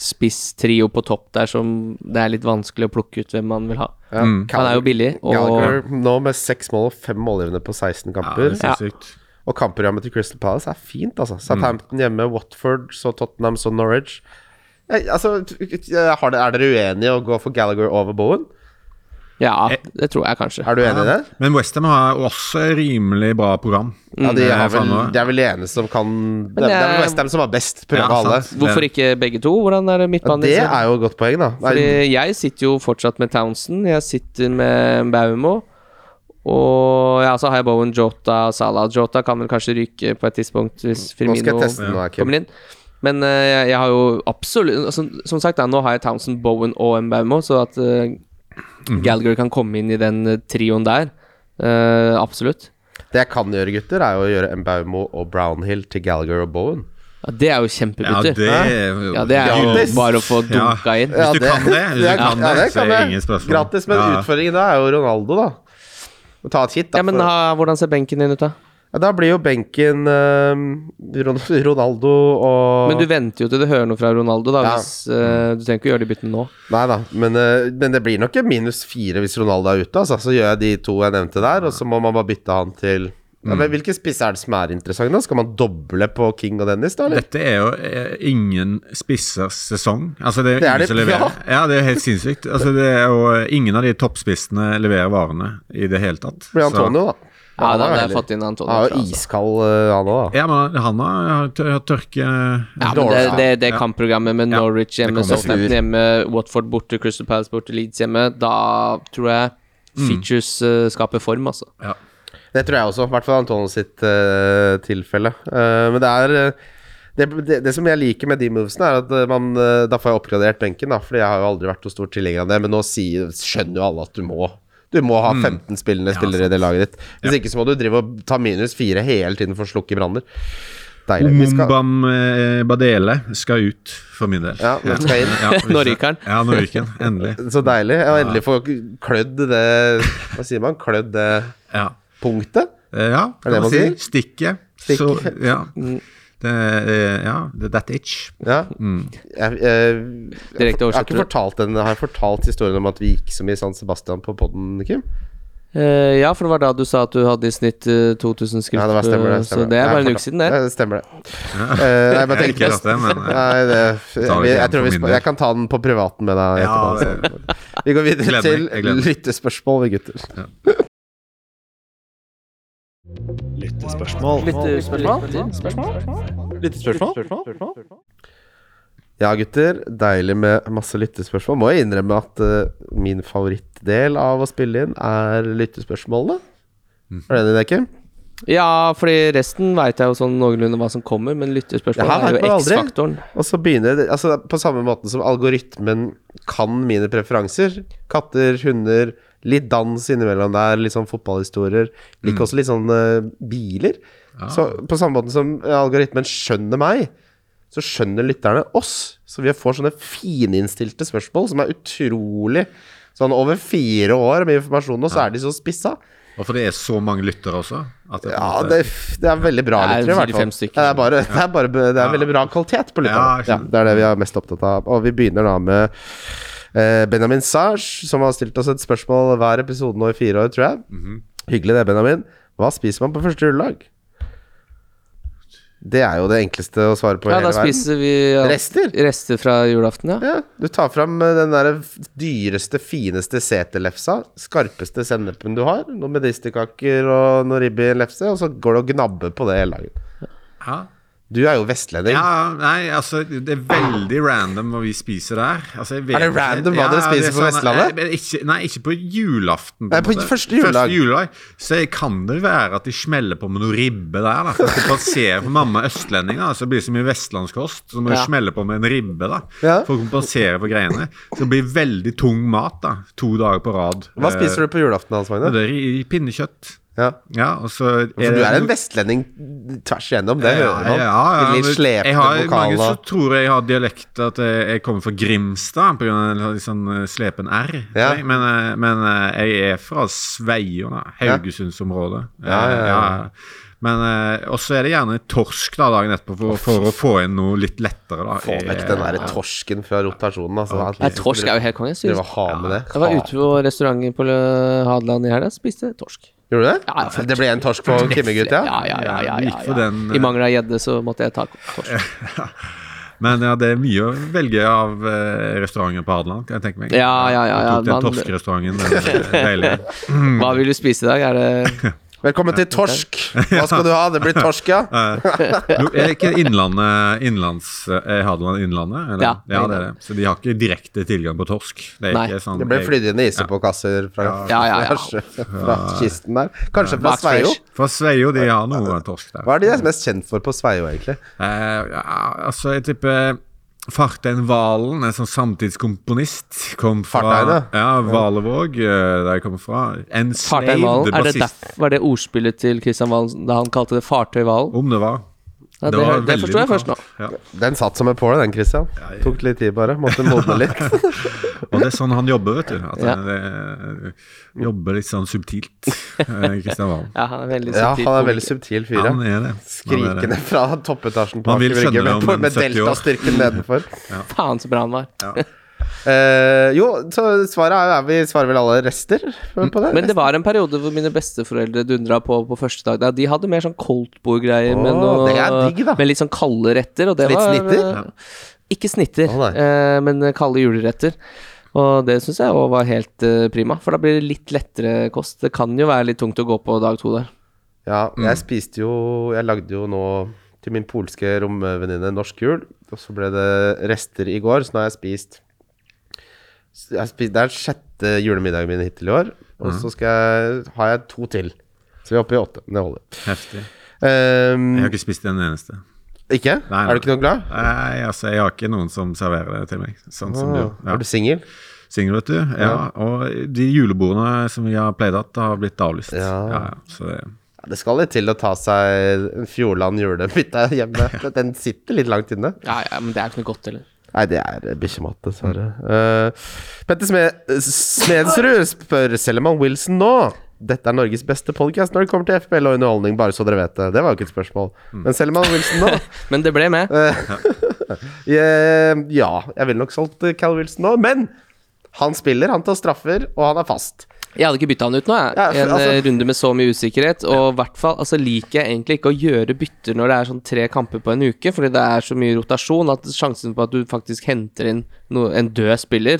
Speaker 2: spisstrio på topp der som det er litt vanskelig å plukke ut hvem man vil ha.
Speaker 3: Ja,
Speaker 2: Han er jo billig, og
Speaker 3: Gallagher nå med seks mål og fem målgivende på 16
Speaker 4: Ja, det
Speaker 3: kamper.
Speaker 4: er sinnssykt.
Speaker 3: Og kampprogrammet til Crystal Palace er fint,
Speaker 2: Mm.
Speaker 3: altså. Southampton hjemme, Watford, så Tottenham, så Norwich. Jeg, altså, jeg har det, Er dere uenige i å gå for Gallagher over Bowen?
Speaker 2: ja, det tror jeg kanskje.
Speaker 3: Eh, Er du enig i det? Mm.
Speaker 4: Men Westham har også et rimelig bra program.
Speaker 3: Ja,
Speaker 2: Mm.
Speaker 3: de,
Speaker 4: Eh,
Speaker 3: har vel,
Speaker 4: fremover.
Speaker 3: de er vel de eneste som kan Det, det er
Speaker 2: jeg-
Speaker 3: vel Westham som har best prøve
Speaker 4: Ja,
Speaker 3: av alle.
Speaker 4: sant.
Speaker 2: Hvorfor ikke begge to? Hvordan er det
Speaker 3: Ja,
Speaker 2: midtbanen?
Speaker 3: det
Speaker 2: din?
Speaker 3: er jo et godt poeng, da. Nei,
Speaker 2: Fordi jeg sitter jo fortsatt med Townsend, jeg sitter med Baumo. Og ja, så har jeg Bowen Jota og Salah. Jota kan vel kanskje ryke på et tidspunkt hvis
Speaker 3: nå skal
Speaker 2: Firmino
Speaker 3: jeg teste den, da, Kim.
Speaker 2: kommer inn. Men eh, jeg, jeg har jo absolutt som, som sagt, da, nå har jeg Townsend, Bowen og Mbaumo, så at uh, Gallagher kan komme inn i den eh, trioen der. eh, absolutt.
Speaker 3: Det jeg kan gjøre, gutter, er jo å gjøre Mbaumo og Brownhill til Gallagher og Bowen.
Speaker 2: Ja, det er jo
Speaker 4: Ja,
Speaker 2: kjempebytter.
Speaker 4: det er jo
Speaker 2: Ja, det er jo
Speaker 3: Gratis.
Speaker 2: bare å få dunka inn.
Speaker 4: Hvis du kan det, hvis du kan det, så er det
Speaker 3: jeg.
Speaker 4: ingen spørsmål.
Speaker 3: Gratis, men
Speaker 4: Ja, ja.
Speaker 3: utfordringen da er jo Ronaldo, da. Å Ta et hit, da.
Speaker 2: Ja, men
Speaker 3: for-
Speaker 2: ha, hvordan ser benken din ut, da?
Speaker 3: Ja, da blir jo benken eh, Ron- Ronaldo og
Speaker 2: Men du venter jo til du hører noe fra Ronaldo, da.
Speaker 3: Ja.
Speaker 2: Hvis, eh, du trenger ikke å gjøre de byttene nå.
Speaker 3: Nei da, men, eh, men det blir nok en minus fire hvis Ronaldo er ute. Altså. Så gjør jeg de to jeg nevnte der, og så må man bare bytte han til ja,
Speaker 4: Mm.
Speaker 3: men Hvilken spiss er det som er interessant? da? Skal man doble på King og Dennis, da? Eller?
Speaker 4: Dette er jo eh, ingen spissers sesong. Altså, det er,
Speaker 3: Det er
Speaker 4: ingen
Speaker 3: det,
Speaker 4: som leverer. Ja. det er helt sinnssykt. Altså, det er jo eh, ingen av de toppspissene leverer varene i det hele tatt.
Speaker 3: Det blir
Speaker 4: Så-
Speaker 3: Antonio, da.
Speaker 2: Ja, da
Speaker 3: han er
Speaker 2: hadde jeg
Speaker 3: veldig-
Speaker 2: fått inn Antonio.
Speaker 3: Han er
Speaker 2: Fra,
Speaker 3: jo
Speaker 2: altså.
Speaker 3: iskald, eh, han òg, da.
Speaker 4: Ja, men han har har tør- har tørke
Speaker 2: Ja, men det, det, det
Speaker 4: Ja.
Speaker 2: kampprogrammet med
Speaker 4: Ja,
Speaker 2: Norwich hjemme,
Speaker 4: kommer
Speaker 2: Southampton
Speaker 3: snur.
Speaker 2: hjemme, Watford borte, Crystal Palace borte, Leeds hjemme, da tror jeg
Speaker 3: Mm.
Speaker 2: features eh, skaper form, altså.
Speaker 3: Det tror jeg også, i hvert fall Antonio sitt eh, tilfelle. Eh, men det er eh, det, det, det som jeg liker med de movesene, er at eh, man, eh, da får jeg oppgradert benken. da Fordi jeg har jo aldri vært noe stor tilhenger av det, men nå sier, skjønner jo alle at du må. Du må ha 15 spillende spillere i det laget ditt. Hvis ikke så må du drive og ta minus fire hele tiden for å slukke branner. Deilig. Vi skal-
Speaker 4: Mumbam eh, Badele skal ut, for min del.
Speaker 3: Ja, men skal inn.
Speaker 4: Ja, hvis det-
Speaker 2: Nå ryker han.
Speaker 4: Ja, nå ryker han. Endelig.
Speaker 3: Så deilig. Og endelig få klødd det Hva sier man? Klødd det
Speaker 4: Ja.
Speaker 3: punktet?
Speaker 4: Eh, ja
Speaker 3: Er det
Speaker 4: kan man
Speaker 3: man
Speaker 4: si.
Speaker 3: sier?
Speaker 4: Stikket.
Speaker 3: Stikket. Mm.
Speaker 4: Så, ja. Det, eh, ja, det- that itch.
Speaker 3: Ja.
Speaker 4: Mm.
Speaker 3: Jeg, jeg, jeg,
Speaker 2: Direkte
Speaker 3: jeg har ikke
Speaker 2: oversetter.
Speaker 3: fortalt den Har jeg fortalt historien om at vi gikk så mye San Sebastian på podden, Kim?
Speaker 2: Eh, ja, for det var da du sa at du hadde i snitt eh, 2000 skrift,
Speaker 3: Ja, det var stemmer det.
Speaker 2: eh,
Speaker 3: Stemmer.
Speaker 2: så det er
Speaker 3: Jeg
Speaker 2: bare en
Speaker 3: fortal-
Speaker 2: uke siden, det.
Speaker 3: Ja, det stemmer det. Eh, nei, men
Speaker 4: Jeg
Speaker 3: jeg
Speaker 4: liker
Speaker 3: tenkte
Speaker 4: at det, men eh,
Speaker 3: Nei, det, jeg,
Speaker 4: tar det ikke
Speaker 3: jeg tror
Speaker 4: igjen
Speaker 3: vi
Speaker 4: for min
Speaker 3: sp-
Speaker 4: del.
Speaker 3: Jeg kan ta den på privaten med deg
Speaker 4: Ja, eh,
Speaker 3: etterpå. så. Vi går videre
Speaker 4: Jeg gleder meg, jeg
Speaker 3: til
Speaker 4: gleder meg.
Speaker 3: lyttespørsmål, vi gutter.
Speaker 2: eh,
Speaker 3: Ja, gutter. Deilig med masse lyttespørsmål. Må jeg innrømme at eh, min favorittdel av å spille inn er lyttespørsmålene. Er du enig i det, Kim?
Speaker 2: Ja, fordi resten veit jeg jo sånn noenlunde hva som kommer, men
Speaker 3: Ja, her
Speaker 2: lyttespørsmålet er
Speaker 3: vet
Speaker 2: jo
Speaker 3: man aldri.
Speaker 2: X-faktoren.
Speaker 3: Og så begynner det altså På samme måten som algoritmen kan mine preferanser. Katter, hunder, litt dans innimellom der, litt sånn fotballhistorier. Liker
Speaker 2: Mm.
Speaker 3: også litt sånn eh, biler.
Speaker 2: Ah.
Speaker 3: Så på samme måte som eh, algoritmen skjønner meg, så skjønner lytterne oss. Så vi får sånne fininnstilte spørsmål som er utrolig Sånn over fire år med informasjon nå, så er de så spissa.
Speaker 4: Og for det er så mange lyttere også. At det, på en
Speaker 3: Ja,
Speaker 4: måte-
Speaker 3: det, det er veldig bra
Speaker 2: Det er
Speaker 3: lyttere, i hvert
Speaker 2: fire-fem
Speaker 3: fall.
Speaker 2: stykker.
Speaker 3: Det er, bare, det er, bare, det er veldig bra kvalitet på
Speaker 4: Ja,
Speaker 3: lytterne.
Speaker 4: jeg
Speaker 3: Ja,
Speaker 4: skjønner.
Speaker 3: det er det vi er mest opptatt av. Og vi begynner da med eh, Benjamin Sage, som har stilt oss et spørsmål hver episode nå i fire år, tror jeg.
Speaker 2: Mhm.
Speaker 3: Hyggelig det, Benjamin. Hva spiser man på første juledag? Det er jo det enkleste å svare på i
Speaker 2: Ja,
Speaker 3: hele
Speaker 2: da
Speaker 3: verden.
Speaker 2: spiser vi ja,
Speaker 3: Rester?
Speaker 2: rester fra julaften, ja.
Speaker 3: Ja, du tar fram eh, den der f- dyreste, fineste seterlefsa, skarpeste sennepen du har, noen medisterkaker og noen ribbienlefse, og så går du og gnabber på det hele dagen.
Speaker 4: ja.
Speaker 3: Du er jo vestlending.
Speaker 4: Ja, nei, altså Det er veldig random hva vi spiser der. Altså, jeg vet
Speaker 3: Er det
Speaker 4: ikke.
Speaker 3: random hva dere
Speaker 4: det er
Speaker 3: spiser på Vestlandet?
Speaker 4: eh, ikke, nei, ikke på julaften.
Speaker 3: Nei,
Speaker 4: en
Speaker 3: på
Speaker 4: måte.
Speaker 3: første juledag.
Speaker 4: Første juledag Så jeg kan det være at de smeller på med noe ribbe der. Da. For at jeg passerer for mamma er østlending, da, så det blir så mye vestlandskost. Så må du
Speaker 2: Ja.
Speaker 4: smelle på med en ribbe da
Speaker 3: Ja.
Speaker 4: for å kompensere for greiene. Så det blir veldig tung mat da to dager på rad. Eh,
Speaker 3: Hva spiser du på julaften, Hans Magne?
Speaker 4: Det er i, i pinnekjøtt.
Speaker 3: Ja.
Speaker 4: Ja, og så er
Speaker 3: For du
Speaker 4: det-
Speaker 3: er en vestlending tvers igjennom, det hører man.
Speaker 4: Eh, Ja, ja,
Speaker 3: Litt
Speaker 4: men jeg
Speaker 3: slepende
Speaker 4: har, Mange
Speaker 3: vokaler.
Speaker 4: som tror jeg har dialekt at jeg, jeg kommer fra Grimstad pga. en litt sånn eh, slepen R.
Speaker 3: Ja.
Speaker 4: tror jeg. Men, eh, men eh, jeg er fra Sveio, da. Haugesundsområdet.
Speaker 3: Ja, ja, ja.
Speaker 4: Eh, Men eh, også er det gjerne torsk da dagen etterpå for, for å få inn noe litt lettere. da Eh,
Speaker 3: Få vekk den der torsken fra rotasjonen, altså.
Speaker 2: Nei, torsk er jo helt konge. Jeg
Speaker 3: Drive og ha med det.
Speaker 2: jeg var ute på restauranten på Lø- Hadeland i helga og spiste torsk.
Speaker 3: Gjorde du det?
Speaker 2: Ja, ja, for-
Speaker 3: det ble en torsk på Kimmegutt, ja?
Speaker 2: Ja, ja, ja, ja,
Speaker 4: Ja,
Speaker 2: ja,
Speaker 4: gikk for
Speaker 2: ja.
Speaker 4: den, eh.
Speaker 2: I mangel av gjedde så måtte jeg ta torsk.
Speaker 4: Men ja, det er mye å velge av eh, restauranter på Hadeland, kan jeg tenke meg.
Speaker 2: Ja, ja, ja, ja,
Speaker 4: Jeg tok den
Speaker 2: man-
Speaker 4: torskerestauranten. Den, eh, deilige.
Speaker 2: Hva vil du spise i dag? Er det
Speaker 3: Velkommen til torsk! Hva skal du ha? Det blir torsk, ja?
Speaker 4: Eh, Jo, Er det ikke Innlandet innlands, eh, Hadeland Innlandet? Eller?
Speaker 2: Ja.
Speaker 4: det er det. Så de har ikke direkte tilgang på torsk? Det er
Speaker 2: Nei.
Speaker 4: ikke sånn
Speaker 3: Det ble
Speaker 4: jeg-
Speaker 3: flydd inn isepåkasser
Speaker 2: Ja,
Speaker 3: fra,
Speaker 2: ja, ja.
Speaker 3: fra, fra kisten der. Kanskje fra
Speaker 2: Max
Speaker 3: Sveio?
Speaker 2: Fresh.
Speaker 4: Fra Sveio, de har noe torsk der.
Speaker 3: Hva er de der mest kjent for på Sveio, egentlig?
Speaker 4: Eh, ja, altså, jeg tipper Fartein Valen, en sånn samtidskomponist, kom fra
Speaker 3: Fartein, ja.
Speaker 4: ja, Valevåg, eh, der jeg kommer fra. En
Speaker 2: Fartøy
Speaker 4: slave
Speaker 2: Er det
Speaker 4: bassist.
Speaker 2: derf- var det ordspillet til Kristian Valen da han kalte det Fartøyhvalen?
Speaker 4: Om det var.
Speaker 2: Ja, det,
Speaker 4: var
Speaker 2: det, det
Speaker 4: veldig
Speaker 2: forstår jeg først nå.
Speaker 4: lokalt. Ja.
Speaker 3: Den satt som en påle, den, Christian. Tok litt tid, bare. Måtte modne litt.
Speaker 4: Og det er sånn han jobber, vet du. At
Speaker 2: Ja.
Speaker 4: han eh, jobber litt sånn subtilt, eh, Kristian Valen.
Speaker 2: Ja, han er veldig
Speaker 3: Ja, han er
Speaker 2: subtil
Speaker 3: veldig
Speaker 2: komiker.
Speaker 3: subtil fyr, ja.
Speaker 4: Han er det. Han er det.
Speaker 3: Skrikende fra toppetasjen på
Speaker 4: Man vil
Speaker 3: Aker Brygge
Speaker 4: skjønne det
Speaker 3: med,
Speaker 4: om en
Speaker 3: med
Speaker 4: 70 år.
Speaker 3: deltastyrken nedenfor.
Speaker 2: Faen så bra han var.
Speaker 3: Eh, jo, så svaret er, er vi svarer vel alle rester
Speaker 4: Mm,
Speaker 3: på det?
Speaker 2: Men det var en periode hvor mine besteforeldre dundra på på første dag. Da de hadde mer sånn koldtbordgreier med,
Speaker 3: Åh,
Speaker 2: noe-
Speaker 3: det er digg, da.
Speaker 2: med litt sånn kalde retter. Og det
Speaker 3: Litt
Speaker 2: var,
Speaker 3: snitter?
Speaker 2: eh, Ikke snitter,
Speaker 3: Å, nei.
Speaker 2: eh, men kalde juleretter. Og det syns jeg òg var helt eh, prima, for da blir det litt lettere kost. Det kan jo være litt tungt å gå på dag to der.
Speaker 3: Ja,
Speaker 4: Mm.
Speaker 3: jeg spiste jo Jeg lagde jo nå til min polske romvenninne norsk jul, og så ble det rester i går, så nå har jeg spist så jeg har spist, Det er sjette julemiddagen min hittil i år, og
Speaker 4: Mm.
Speaker 3: så skal jeg, har jeg to til. Så vi er oppe i åtte. men Det holder.
Speaker 4: Heftig.
Speaker 3: Ehm,
Speaker 4: Jeg har ikke spist en eneste.
Speaker 3: ikke?
Speaker 4: Nei, nei.
Speaker 3: Er du ikke noe glad?
Speaker 4: Nei, altså, jeg har ikke noen som serverer det til meg. Sånn som
Speaker 3: Ah,
Speaker 4: du. Ja.
Speaker 3: Er du singel?
Speaker 4: Singel, vet du. Ja. Og de julebordene som jeg har pleid hatt, har blitt avlyst.
Speaker 3: Ja.
Speaker 4: Ja, ja. Så det,
Speaker 3: Ja, det skal litt til å ta seg en Fjordland julemiddag hjemme. Den sitter litt langt inne.
Speaker 2: Ja, ja, men det er ikke noe godt, heller.
Speaker 3: Nei, det er eh, bikkjemat, dessverre. Eh, Petter Smed Smedsrud spør selv om han Wilson nå. Dette er Norges beste podkast når det kommer til FPL og underholdning, bare så dere vet det. Det var jo ikke et spørsmål. Men selv om han Wilson nå
Speaker 2: Men det ble med.
Speaker 3: eh, Ja, jeg ville nok solgt eh, Cal Wilson nå, men han spiller, han tar straffer, og han er fast.
Speaker 2: Jeg hadde ikke bytta han ut nå, jeg.
Speaker 3: Ja, for-
Speaker 2: en
Speaker 3: altså-
Speaker 2: eh, runde med så mye usikkerhet. Og i hvert fall altså, liker jeg egentlig ikke å gjøre bytter når det er sånn tre kamper på en uke, fordi det er så mye rotasjon at sjansen for at du faktisk henter inn no, en død spiller,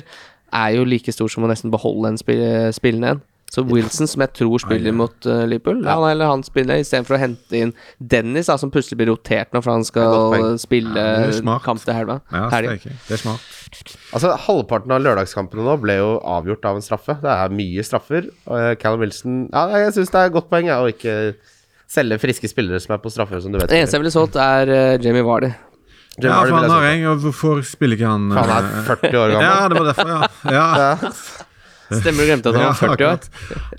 Speaker 2: er jo like stor som å nesten beholde en spill, spillende en. Så Wilson, som jeg tror spiller mot eh, Liverpool, ja. han eller han spiller, istedenfor å hente inn Dennis, da, som plutselig blir rotert nå, for han
Speaker 3: godt
Speaker 2: skal
Speaker 3: poeng.
Speaker 2: eh, spille
Speaker 4: Ja, det er smart.
Speaker 2: kamp til helga.
Speaker 4: ja,
Speaker 2: Helg.
Speaker 4: steike. altså, det er smart.
Speaker 3: Altså, Halvparten av lørdagskampene nå ble jo avgjort av en straffe. Det er mye straffer. Og eh, Callum Wilson Ja, jeg syns det er et godt poeng jeg, å ikke selge friske spillere som er på straffer, som du vet.
Speaker 2: Det eneste jeg ville solgt, er eh, Jamie Vardy.
Speaker 3: Jim
Speaker 4: Ja,
Speaker 3: Vardy
Speaker 4: for
Speaker 3: ville
Speaker 4: han
Speaker 3: jeg
Speaker 4: har jeg, og hvorfor spiller ikke han
Speaker 3: Han er
Speaker 4: eh,
Speaker 3: 40 år gammel.
Speaker 4: Ja, det var derfor, ja. ja.
Speaker 2: Stemmer du glemte at han
Speaker 4: Ja,
Speaker 2: var 40 år?
Speaker 4: akkurat.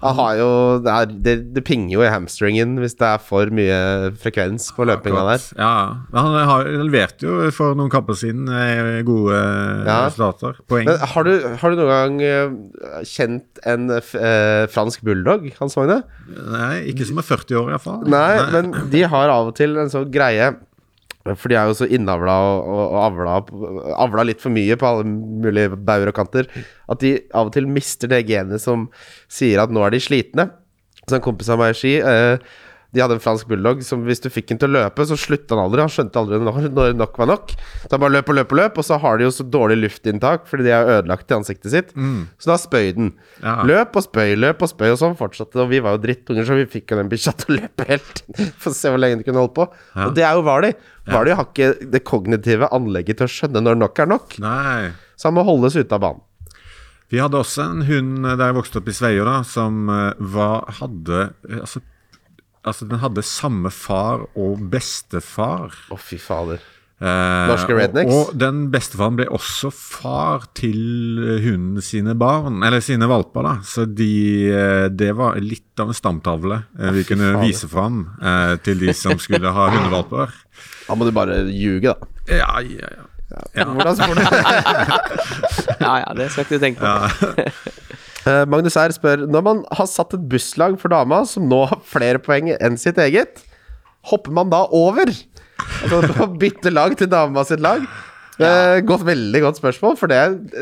Speaker 3: Han har jo Det, er, det, det pinger jo i hamstringen hvis det er for mye frekvens på løpinga der.
Speaker 4: Akkurat. Ja, ja. Men Han har, han leverte jo for noen kamper siden eh, gode eh,
Speaker 3: Ja.
Speaker 4: resultater. Poeng.
Speaker 3: Men har du, har du noen gang eh, kjent en eh, f- eh, fransk bulldog, Hans Magne?
Speaker 4: Nei, ikke som er 40 år, iallfall.
Speaker 3: Nei, men de har av og til en sånn greie For de er jo så innavla og, og, og avla, avla litt for mye på alle mulige bauger og kanter at de av og til mister det genet som sier at nå er de slitne. Så en kompis av meg i Ski eh, De hadde en fransk bulldog som hvis du fikk den til å løpe, så slutta han aldri. Han skjønte aldri når, når nok var nok. Så han bare løp og løp og løp, og så har de jo så dårlig luftinntak fordi de er ødelagt i ansiktet sitt. Så da spøy den.
Speaker 4: Ja.
Speaker 3: Løp og spøy, løp og spøy, og sånn fortsatte det. Og vi var jo drittunger, så vi fikk jo den bikkja til å løpe helt. For å se hvor lenge den kunne holde på. Og det er jo Vali. Vali har ikke det kognitive anlegget til å skjønne når nok er nok,
Speaker 4: Nei.
Speaker 3: så han må holdes ute av banen.
Speaker 4: Vi hadde også en hund eh, der jeg vokste opp i Sveio, da, som eh, var, hadde eh, altså, altså, den hadde samme far og bestefar.
Speaker 3: Å, fy fader.
Speaker 4: Eh,
Speaker 3: Norske rednecks?
Speaker 4: Og, og den bestefaren ble også far til eh, hunden sine barn, eller sine valper, da. Så de, eh, det var litt av en stamtavle eh, vi kunne
Speaker 3: fader.
Speaker 4: vise fram eh, til de som skulle ha hundevalper.
Speaker 3: Da må du bare ljuge, da.
Speaker 4: Ja, ja, ja.
Speaker 3: Hvordan spør du?
Speaker 2: Ja, ja, det skal ikke du tenke på.
Speaker 3: Eh, Magnus R spør Når man har satt et busslag for dama som nå har flere poeng enn sitt eget, hopper man da over? Altså bytte lag til dama sitt lag? Eh, godt, veldig godt spørsmål, for det,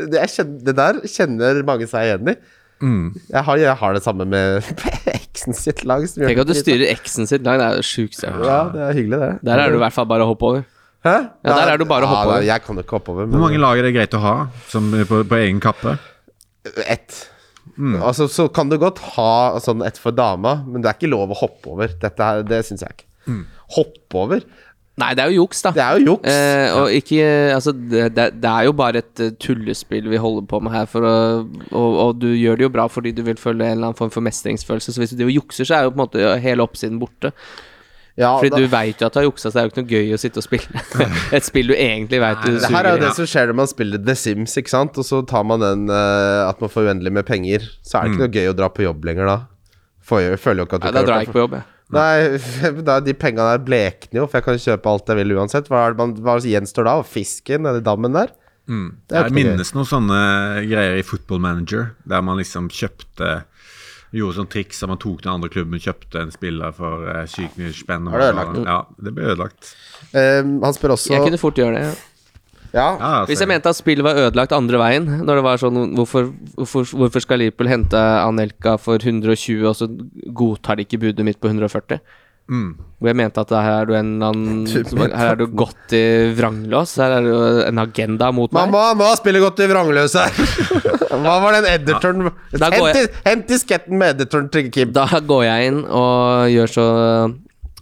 Speaker 3: det, jeg kjenner, det der kjenner mange seg igjen i.
Speaker 2: Mm.
Speaker 3: Jeg, har, jeg har det samme med eksen sitt lag. Som gjør
Speaker 2: Tenk at du
Speaker 3: det dritt.
Speaker 2: styrer eksen sitt lag, det er jo sjukt. Ja.
Speaker 3: Ja, det er hyggelig, det.
Speaker 2: Der er du i hvert fall bare å hoppe over.
Speaker 3: Hæ?
Speaker 2: Ja, der er du bare å hoppe
Speaker 3: da,
Speaker 2: over.
Speaker 3: Jeg kan jo ikke hoppe over.
Speaker 4: Hvor
Speaker 3: men-
Speaker 4: mange lag er det greit å ha som, eh, på, på egen kappe?
Speaker 3: ett. Altså, så kan du godt ha sånn ett for dama, men det er ikke lov å hoppe over. Dette her, det syns jeg ikke. Hoppe over?
Speaker 2: Nei, det er jo juks, da.
Speaker 3: Det er jo juks.
Speaker 2: Eh, og ikke Altså, det, det, det er jo bare et eh, tullespill vi holder på med her, for å, og, og du gjør det jo bra fordi du vil føle en eller annen form for mestringsfølelse, så hvis du driver og jukser, så er jo på en måte hele oppsiden borte.
Speaker 3: ja,
Speaker 2: Fordi
Speaker 3: da,
Speaker 2: du veit jo at du har juksa, så det er jo ikke noe gøy å sitte og spille et spill du egentlig veit du
Speaker 3: det her er
Speaker 2: suger
Speaker 3: jo
Speaker 2: i.
Speaker 3: det som skjer når man spiller The Sims, ikke sant? og så tar man den eh, at man får uendelig med penger. Så er det ikke noe gøy å dra på jobb lenger da. Får jo- føler jo ikke at
Speaker 2: Nei,
Speaker 3: du
Speaker 2: Da
Speaker 3: kan-
Speaker 2: drar jeg ikke på jobb, jeg.
Speaker 3: Nei, da, de penga der blekner jo, for jeg kan kjøpe alt jeg vil uansett. Hva, er det man, hva gjenstår da? Fisken nedi dammen der? Det er ikke
Speaker 4: Jeg
Speaker 3: noe gøy.
Speaker 4: minnes noen sånne greier i Football Manager, der man liksom kjøpte Gjorde sånn triks at man tok den andre klubben, kjøpte en spiller for eh, sykt mye spenn.
Speaker 3: Er det ødelagt?
Speaker 4: Ja, det ble ødelagt.
Speaker 3: Eh, han spør også
Speaker 2: Jeg kunne fort gjøre det. Ja.
Speaker 3: ja.
Speaker 4: Ja, altså,
Speaker 2: Hvis jeg mente at spillet var ødelagt andre veien, når det var sånn Hvorfor, hvorfor, hvorfor skal Liverpool hente Anelka for 120, og så godtar de ikke budet mitt på 140?
Speaker 4: Mm.
Speaker 2: Hvor jeg mente at det her er du en eller annen som- Her er du godt i vranglås. Her er du en agenda mot meg.
Speaker 3: Mamma, nå spiller godt i vrangløse! Hva var den editoren
Speaker 2: Da går
Speaker 3: Hent, dis- hent disketten med editoren til Kim.
Speaker 2: Da går jeg inn og gjør så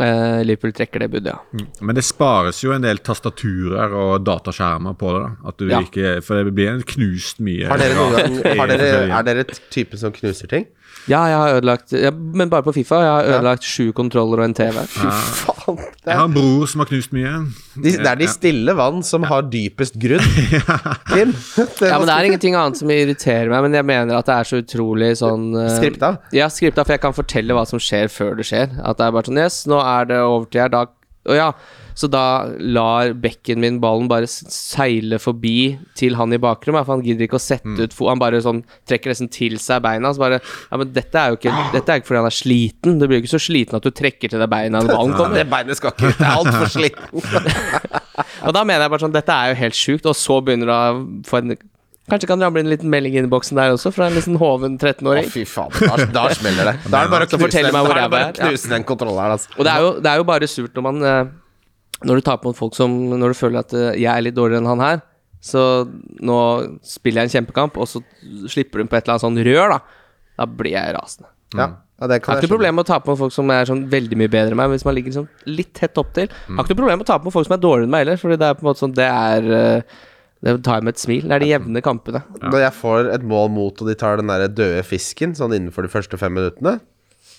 Speaker 2: eh, Liverpool trekker det budet, ja.
Speaker 4: Men det spares jo en del tastaturer og dataskjermer på det. da At du
Speaker 2: Ja.
Speaker 4: ikke, For det blir en knust mye.
Speaker 3: Har dere noen gang har dere,
Speaker 4: forskjellige-
Speaker 3: Er dere typen som knuser ting?
Speaker 2: Ja, jeg har ødelagt ja, Men bare på Fifa. Jeg har ødelagt sju kontroller og en TV.
Speaker 3: Faen, det
Speaker 4: Jeg
Speaker 3: er,
Speaker 4: har en bror som har knust mye.
Speaker 3: de, det er de stille vann som har dypest grunn. Kim? Det
Speaker 2: Ja, men Det
Speaker 3: var
Speaker 2: er ingenting annet som irriterer meg, men jeg mener at det er så utrolig sånn eh,
Speaker 3: Skripta?
Speaker 2: Ja, skripta, for jeg kan fortelle hva som skjer før det skjer. At det er bare sånn Yes, nå er det overtid her, da Å ja. Så da lar bekken min ballen bare s- seile forbi til han i bakrommet, for han gidder ikke å sette ut fo... Han bare sånn trekker nesten til seg beina, så bare Ja, men dette er jo ikke Dette er ikke fordi han er sliten. Du blir jo ikke så sliten at du trekker til deg beina når ballen kommer.
Speaker 3: Sånn, Det beinet skal ikke ut. Det er altfor slitt.
Speaker 2: Og da mener jeg bare sånn, dette er jo helt sjukt, og så begynner du å få en Kanskje kan det ramle en liten melding i innboksen der også, fra en liten hoven
Speaker 3: Å,
Speaker 2: 13-åring.
Speaker 3: fy faen. Da, da smeller det. Da er det bare å
Speaker 2: Så
Speaker 3: knuse
Speaker 2: fortell
Speaker 3: den,
Speaker 2: meg
Speaker 3: da
Speaker 2: hvor
Speaker 3: er det
Speaker 2: jeg
Speaker 3: bare å
Speaker 2: er, ja.
Speaker 3: knuse den kontrolleren. Altså.
Speaker 2: Og det er, jo, det er jo bare surt når man eh, Når du tar på folk som Når du føler at eh, jeg er litt dårligere enn han her, så nå spiller jeg en kjempekamp, og så slipper du inn på et eller annet sånn rør, da. Da blir jeg rasende.
Speaker 3: Ja, ja,
Speaker 2: Jeg har Mm.
Speaker 3: det sånn kan jeg
Speaker 2: ikke noe
Speaker 3: skjønne.
Speaker 2: problem med å tape med folk som er sånn veldig mye bedre enn meg, hvis man ligger sånn litt tett opptil.
Speaker 3: Mm.
Speaker 2: Jeg har ikke noe problem med å tape med folk som er dårligere enn meg heller, Fordi det er på en måte sånn Det er eh, Det tar jeg med et smil. Det er de jevne kampene.
Speaker 3: Når jeg får et mål mot, og de tar den der døde fisken sånn innenfor de første fem minuttene,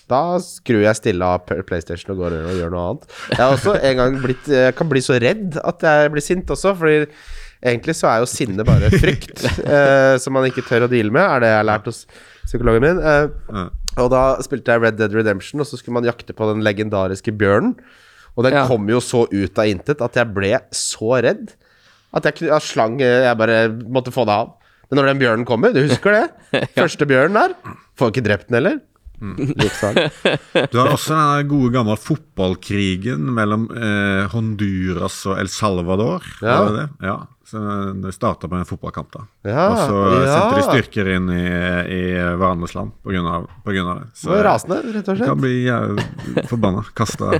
Speaker 3: da skrur jeg stille av P- PlayStation og går inn og gjør noe annet. Jeg har også en gang blitt Jeg kan bli så redd at jeg blir sint også, fordi egentlig så er jo sinne bare frykt eh, som man ikke tør å deale med, er det jeg har lært hos psykologen min. Eh,
Speaker 4: Ja.
Speaker 3: og da spilte jeg Red Dead Redemption, og så skulle man jakte på den legendariske bjørnen. Og den
Speaker 2: Ja.
Speaker 3: kom jo så ut av intet at jeg ble så redd at jeg, kn- jeg slang eh, Jeg bare måtte få det av. Men når den bjørnen kommer, du husker det? Første bjørnen der. Får ikke drept den heller. Liksom.
Speaker 4: Du har også den der gode gamle fotballkrigen mellom eh, Honduras og El Salvador.
Speaker 3: Ja.
Speaker 4: var det det? ja. Så Det starta med en fotballkamp, da.
Speaker 3: Ja,
Speaker 4: og så
Speaker 3: ja.
Speaker 4: sendte de styrker inn i, i hverandres land pga. det.
Speaker 3: Det var rasende, rett og
Speaker 4: Du kan
Speaker 3: slett.
Speaker 4: bli jæv- forbanna. Kasta,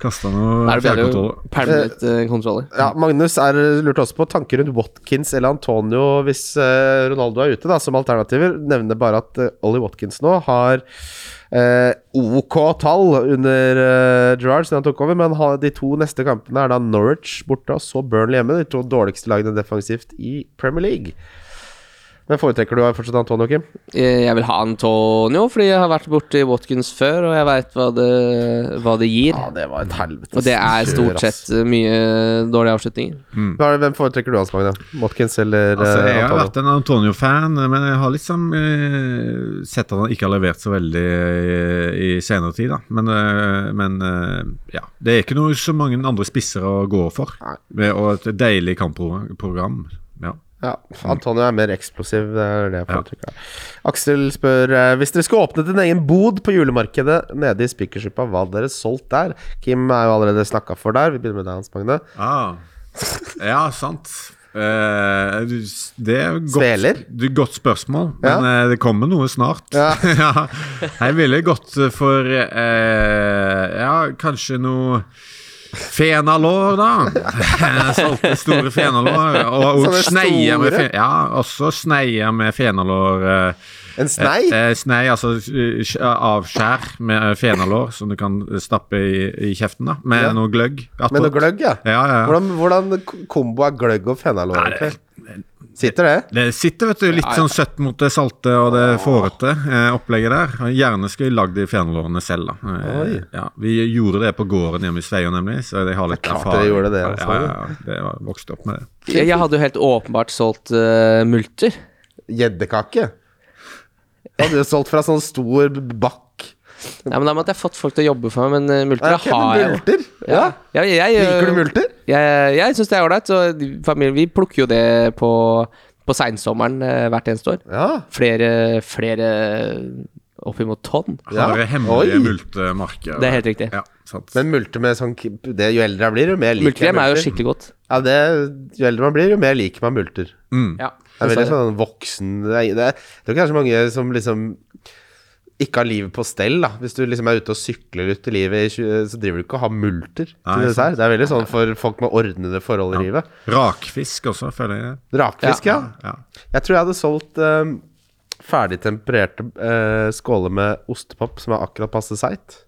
Speaker 4: kasta noe
Speaker 2: Da er det bedre å
Speaker 4: fjernkontroll.
Speaker 2: pælme litt eh, kontroller.
Speaker 3: Ja, Magnus er lurt også på tanker rundt Watkins eller Antonio hvis eh, Ronaldo er ute, da, som alternativer. Nevner bare at eh, Ollie Watkins nå har eh, OK tall under eh, Gerrard siden han tok over, men ha, de to neste kampene er da Norwich borte og så Burnley hjemme. De to dårligste lagene defensivt i Premier League. Men foretrekker du fortsatt Antonio, Kim?
Speaker 2: Eh, Jeg vil ha Antonio, fordi jeg har vært borti Watkins før, og jeg veit hva, det- hva det gir.
Speaker 3: Ja, det var et helvete.
Speaker 2: Og det er stort sett eh, mye dårlige avslutninger.
Speaker 3: Hva er det- Hvem foretrekker du, Hans Magne? Watkins eller
Speaker 4: Altså,
Speaker 3: eh,
Speaker 4: jeg har
Speaker 3: Antonio?
Speaker 4: vært en Antonio-fan, men jeg har liksom eh, sett at han ikke har levert så veldig eh, i senere tid. Da. Men, eh, men eh, ja. det er ikke noe så mange andre spisser å gå for.
Speaker 3: Nei.
Speaker 4: Med, og et deilig kampprogram. Ja.
Speaker 3: Ja, Antonio er mer eksplosiv, det er det jeg foretrekker. Aksel spør eh, Hvis dere skulle åpnet en egen bod på julemarkedet nede i Spikersuppa, hva hadde dere solgt der? Kim er jo allerede snakka for der. Vi begynner med deg, Hans Magne.
Speaker 4: Ah. Ja, sant. Eh, du, det er jo godt,
Speaker 3: Sveler?
Speaker 4: Du, godt spørsmål,
Speaker 3: Ja.
Speaker 4: men eh, det kommer noe snart.
Speaker 3: Ja.
Speaker 4: Ja. Jeg ville gått for eh, Ja, kanskje noe fenalår, da. Jeg Solgte store fenalår. Og, og
Speaker 3: Sånne
Speaker 4: sneier med
Speaker 3: store?
Speaker 4: fe, Ja, også sneier med fenalår. eh,
Speaker 3: En snei?
Speaker 4: Eh, eh, snei, altså eh, sk- avskjær med eh, fenalår som du kan stappe i, i kjeften, da. Med
Speaker 3: Ja.
Speaker 4: noe gløgg. attåt.
Speaker 3: Med noe gløgg, ja.
Speaker 4: Ja, ja, ja.
Speaker 3: Hvordan, hvordan k- kombo er gløgg og fenalår? egentlig? Sitter det?
Speaker 4: Det sitter vet du, litt sånn søtt mot det salte og det fårete eh, opplegget der. Og Gjerne skulle jeg lagd de fenalårene selv. da. Eh,
Speaker 3: Oi.
Speaker 4: ja, vi gjorde det på gården hjemme i Sveio, nemlig. Så jeg har litt
Speaker 3: klart
Speaker 4: erfaring.
Speaker 3: dere gjorde det, altså.
Speaker 4: ja, ja, ja, det var vokst opp med det.
Speaker 2: Jeg, jeg hadde jo helt åpenbart solgt eh, multer.
Speaker 3: Gjeddekake? Hadde du solgt fra sånn stor bakk?
Speaker 2: Nei, men Da måtte jeg fått folk til å jobbe for meg, men eh, multer
Speaker 3: Ok,
Speaker 2: har
Speaker 3: men
Speaker 2: jeg. jo.
Speaker 3: multer? Ja.
Speaker 2: Jeg, jeg, eh,
Speaker 3: Liker du multer?
Speaker 2: Jeg, jeg syns det er ålreit. så de- familien- Vi plukker jo det på, på seinsommeren eh, hvert eneste år.
Speaker 3: Ja.
Speaker 2: Flere, flere oppimot tonn.
Speaker 3: Ja.
Speaker 4: Har dere hemmelige
Speaker 3: Oi.
Speaker 4: multemarker?
Speaker 2: Det er helt riktig.
Speaker 4: Ja, sant.
Speaker 3: Men multer med sånn det, Jo eldre jeg blir, jo mer liker jeg
Speaker 2: Multekrem er jo
Speaker 3: multer.
Speaker 2: skikkelig godt.
Speaker 3: Ja, det, jo eldre man blir, jo mer liker man multer.
Speaker 4: mm.
Speaker 2: Ja,
Speaker 3: Det er veldig sånn voksen Det er, det er, det er kanskje mange som liksom ikke har livet på stell, da. Hvis du liksom er ute og sykler ut i livet, i tjue- så driver du ikke og har multer
Speaker 4: Nei,
Speaker 3: til dessert. Det er veldig sånn for folk med ordnede forhold i livet.
Speaker 4: Rakfisk også, føler jeg.
Speaker 3: Rakfisk, ja.
Speaker 4: Ja.
Speaker 3: Jeg tror jeg hadde solgt eh, ferdig tempererte eh, skåler med ostepop som er akkurat passe seigt.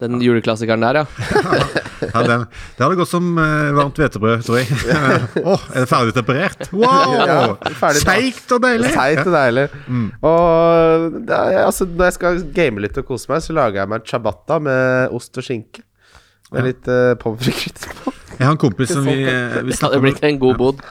Speaker 2: Den juleklassikeren der, ja.
Speaker 4: Ja, den, det hadde gått som eh, varmt hvetebrød, tror jeg. Åh, er det ferdig temperert?
Speaker 3: Ja,
Speaker 4: Wow!
Speaker 3: ferdig da.
Speaker 4: Seigt og deilig!
Speaker 3: Seigt og deilig.
Speaker 4: Mm.
Speaker 3: Og det er, altså, når jeg skal game litt og kose meg, så lager jeg meg ciabatta med ost og skinke. Med litt uh, pommes frites på.
Speaker 4: Jeg har en kompis som vi, eh, vi
Speaker 2: Det hadde
Speaker 4: snakker om
Speaker 2: blitt en god bod.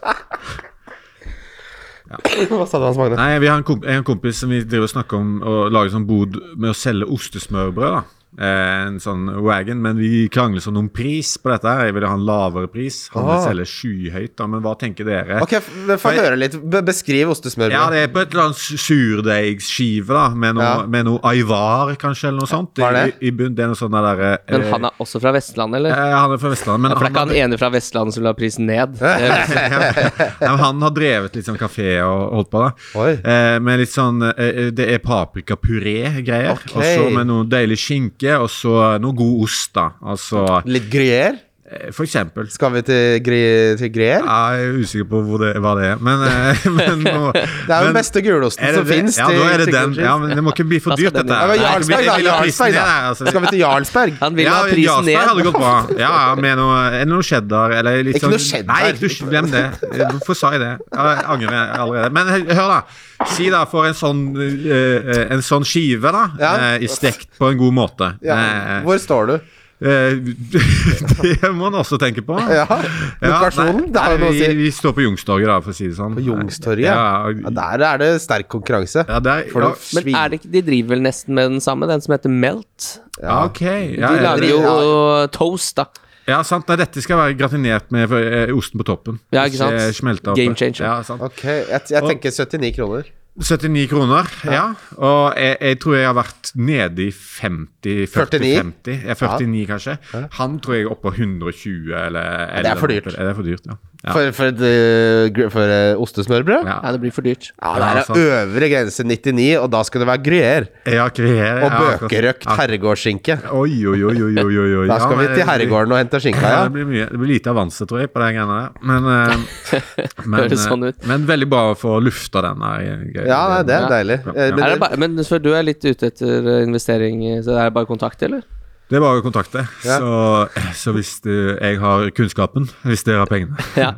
Speaker 3: Hva sa du, Hans Magne?
Speaker 4: Nei, vi har en, komp jeg har en kompis som vi driver og snakker om å lage sånn bod med å selge ostesmørbrød. da Eh, en sånn wagon, men vi krangler sånn om pris på dette. her Jeg ville ha en lavere pris. Han vil
Speaker 3: Ah.
Speaker 4: selge skyhøyt, da, men hva tenker dere?
Speaker 3: Ok, f- men Få høre litt. Be beskriv ostesmørbrød.
Speaker 4: Ja, det er på et eller annet surdeigsskive, da, med noe,
Speaker 3: Ja.
Speaker 4: med noe Aivar, kanskje, eller noe sånt.
Speaker 3: Hva er
Speaker 4: I,
Speaker 3: det?
Speaker 4: i bunn, det er noe sånn der eh,
Speaker 2: Men han er også fra Vestlandet, eller?
Speaker 4: eh, han er fra Vestlandet, men
Speaker 2: For det er
Speaker 4: han,
Speaker 2: ikke han
Speaker 4: har,
Speaker 2: ene fra Vestlandet som vil ha prisen ned. Eh, Det-
Speaker 4: nei, men han har drevet litt sånn kafé og holdt på, da.
Speaker 3: Oi.
Speaker 4: Eh, med litt sånn eh, Det er paprikapuré-greier.
Speaker 3: Ok.
Speaker 4: Og så med noe deilig skinke, og så noe god ost, da. Altså
Speaker 3: Litt gruyère?
Speaker 4: eh, For eksempel.
Speaker 3: Skal vi til, gry til gruyère?
Speaker 4: Jeg er usikker på hvor det, hva det er, men, eh, men nå-
Speaker 3: Det er jo den
Speaker 4: men-
Speaker 3: beste gulosten
Speaker 4: Er det
Speaker 3: som
Speaker 4: det?
Speaker 3: fins.
Speaker 4: Ja, da er det den. Ja, men det må ikke bli for dyrt,
Speaker 2: den i.
Speaker 4: dette.
Speaker 3: Ja, men
Speaker 4: Nei, det blir-
Speaker 3: Jarlsberg, da.
Speaker 4: jeg vil ha prisen
Speaker 3: Jarlsberg, da.
Speaker 4: ned, altså.
Speaker 3: Skal vi til Jarlsberg?
Speaker 2: Han vil
Speaker 4: ja,
Speaker 2: ha prisen
Speaker 4: Jarlsberg hadde
Speaker 2: ned.
Speaker 4: gått bra. Ja, ja, med noe, er det noe cheddar eller litt
Speaker 3: Ikke
Speaker 4: sånn
Speaker 3: noe cheddar.
Speaker 4: Nei, ikke noe- glem det. Eh, Hvorfor sa jeg det? Ja, Jeg angrer allerede. Men hø- hør, da. Si da for en sånn, eh, eh, en sånn skive, da.
Speaker 3: Ja.
Speaker 4: eh, i Stekt på en god måte.
Speaker 3: Ja.
Speaker 4: Eh,
Speaker 3: Hvor står du?
Speaker 4: eh, det må en også tenke på.
Speaker 3: Ja,
Speaker 4: Ja,
Speaker 3: Lokasjonen?
Speaker 4: nei,
Speaker 3: Det har jo noe å
Speaker 4: vi,
Speaker 3: si.
Speaker 4: vi står på Jungstorget, da, for å si det sånn.
Speaker 3: På Youngstorget?
Speaker 4: Ja,
Speaker 3: Ja, der er det sterk konkurranse.
Speaker 4: ja, der,
Speaker 3: For
Speaker 4: ja,
Speaker 3: det
Speaker 2: Men
Speaker 3: svin.
Speaker 2: er det ikke, de driver vel nesten med den samme, den som heter Melt?
Speaker 4: ja, ok.
Speaker 2: De
Speaker 4: Ja, ja,
Speaker 2: lager jo toast, da.
Speaker 4: Ja, sant. Nei, dette skal være gratinert med eh, osten på toppen.
Speaker 2: Ja, ikke sant?
Speaker 4: Ikke smelta opp.
Speaker 2: Game changer.
Speaker 4: Ja, sant.
Speaker 3: Ok, jeg, jeg tenker 79 kroner.
Speaker 4: 79 kroner, ja. Og jeg, jeg tror jeg har vært nede i 50
Speaker 3: 49?
Speaker 4: 40-50. Ja, 49, kanskje. Han tror jeg er oppe på 120 eller, eller
Speaker 3: det er for dyrt.
Speaker 4: noe. Det er for dyrt, ja. ja.
Speaker 3: For, for, et, eh, gr- for eh, ostesmørbrød? Ja.
Speaker 2: Ja,
Speaker 4: ja.
Speaker 2: det blir for dyrt.
Speaker 3: det er
Speaker 4: Ja, sant.
Speaker 3: øvre grense 99, og da skal det være gruyère.
Speaker 4: Ja, kvier,
Speaker 3: Og bøkerøkt herregårdsskinke.
Speaker 4: Oi, oi, oi, oi, oi, oi. oi.
Speaker 3: Da skal
Speaker 4: Ja,
Speaker 3: vi
Speaker 4: men
Speaker 3: til herregården og hente skinka,
Speaker 4: Ja,
Speaker 3: ja.
Speaker 4: det, blir mye, det blir lite avanse, tror jeg, på de greiene der. Men, eh, men,
Speaker 2: Høres sånn ut.
Speaker 4: eh, men veldig bra å få lufta den der. greia.
Speaker 3: Ja, nei, det er
Speaker 2: Ja.
Speaker 3: deilig. Eh,
Speaker 2: Er det
Speaker 3: Men,
Speaker 2: bare, men for du er litt ute etter eh, investering, eh, så er det bare kontakt, eller?
Speaker 4: Det er bare å kontakte.
Speaker 3: Ja.
Speaker 4: Så, eh, så hvis du, jeg har kunnskapen, hvis dere har pengene
Speaker 2: Ja.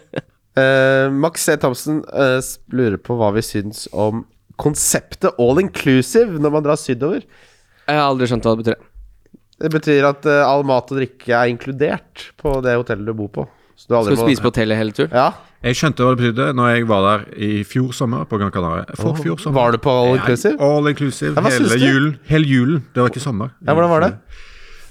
Speaker 3: eh, Max C. Thomsen eh, s- lurer på hva vi syns om konseptet all inclusive når man drar sydover.
Speaker 2: Jeg har aldri skjønt hva det betyr.
Speaker 3: Det betyr at eh, all mat og drikke er inkludert på det hotellet du bor på. Så du
Speaker 2: Skal
Speaker 3: aldri
Speaker 2: du spise på hotellet hele turen?
Speaker 3: Ja.
Speaker 4: Jeg skjønte hva det betydde når jeg var der i fjor sommer på Gran Canaria. For fjor sommer.
Speaker 3: Var du på all inclusive?
Speaker 4: All inclusive.
Speaker 3: Ja, hva syns
Speaker 4: hele
Speaker 3: du?
Speaker 4: julen. Hele julen. Det var ikke sommer.
Speaker 3: Ja, hvordan var det?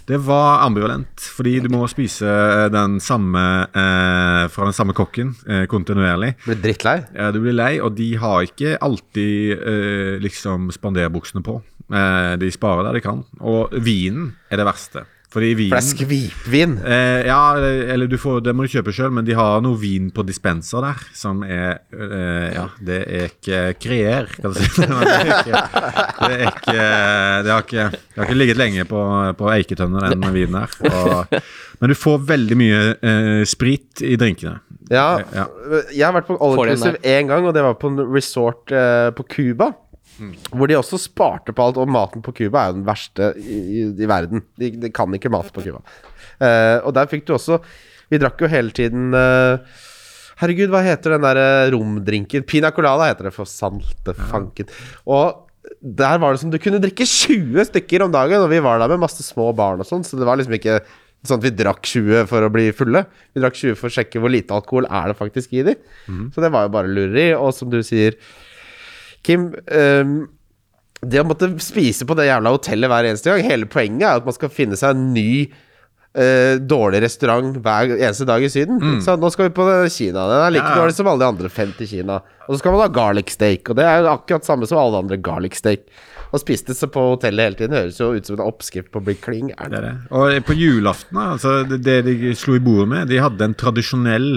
Speaker 4: Det var ambivalent, fordi du må spise den samme eh, fra den samme kokken eh, kontinuerlig.
Speaker 3: Ble drittlei?
Speaker 4: Ja, du blir lei, og de har ikke alltid eh, liksom spanderbuksene på. Eh, de sparer der de kan. Og vinen er det verste. Fordi vinen
Speaker 3: For det er skvipvin.
Speaker 4: Eh, ja, eller eller du får, det må du kjøpe sjøl, men de har noe vin på dispenser der som er eh, Ja, det er ikke kreer, kan du si. Men Det er ikke Det, er ikke, det, har, ikke, det har ikke ligget lenge på, på eiketønner, den vinen her. Og, men du får veldig mye eh, sprit i drinkene.
Speaker 3: Ja.
Speaker 4: Ja.
Speaker 3: Jeg har vært på all
Speaker 2: Får den
Speaker 3: inclusive én gang, og det var på en resort eh, på Cuba. Hvor de også sparte på alt, og maten på Cuba er jo den verste i, i, i verden. De, de kan ikke mat på Cuba. Eh, og der fikk du også Vi drakk jo hele tiden eh, Herregud, hva heter den der eh, romdrinken? Pina colada heter det, for salte fanken. Og der var det som du kunne drikke 20 stykker om dagen, og vi var der med masse små barn og sånn, så det var liksom ikke sånn at vi drakk 20 for å bli fulle. Vi drakk 20 for å sjekke hvor lite alkohol er det faktisk i de. Så det var jo bare lureri. Og som du sier, Kim ehm, det å måtte spise på det jævla hotellet hver eneste gang Hele poenget er at man skal finne seg en ny eh, dårlig restaurant hver eneste dag i Syden. Så nå skal vi på Kina. Den er like
Speaker 4: Mm. Ja.
Speaker 3: dårlig som alle de andre fem til Kina. Og så skal man ha garlic steak, og det er jo akkurat samme som alle andre garlic steak. Å spise det så på hotellet hele tiden høres jo ut som en oppskrift på å bli kling
Speaker 4: Det er
Speaker 3: gæren.
Speaker 4: det. Og på julaften, altså, det, det de slo i bordet med, de hadde en tradisjonell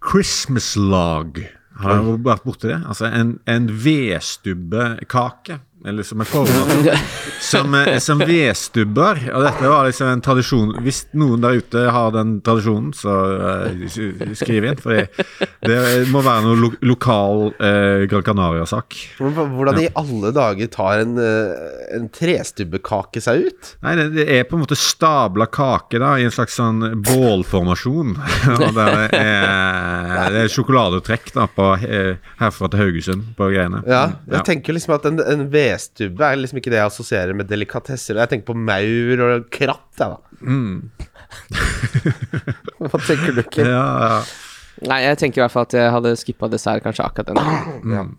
Speaker 4: Christmas log. Har dere vært borti det? Altså en, en vedstubbekake Eller som er formet som, eh, som vedstubber. Og dette var liksom en tradisjon Hvis noen der ute har den tradisjonen, så eh, s- skriv inn. For det må være noe lo lokal eh, Gran Canaria-sak.
Speaker 3: Hvordan hvordan i alle dager tar en, eh, en trestubbekake seg ut?
Speaker 4: Nei, det, det er på en måte stabla kake da, i en slags sånn bålformasjon. Og det er, det er sjokoladetrekk da, på, eh, herfra til Haugesund på greiene.
Speaker 3: Ja,
Speaker 2: Mm,
Speaker 3: jeg
Speaker 4: Ja.
Speaker 3: tenker liksom at en, en vedstubbe er liksom ikke det jeg assosierer med delikatesser. Jeg tenker på maur og kratt, jeg, da. Hva tenker du, Kim?
Speaker 4: Ja, ja.
Speaker 2: Nei, jeg tenker i hvert fall at jeg hadde skippa dessert kanskje akkurat den dagen.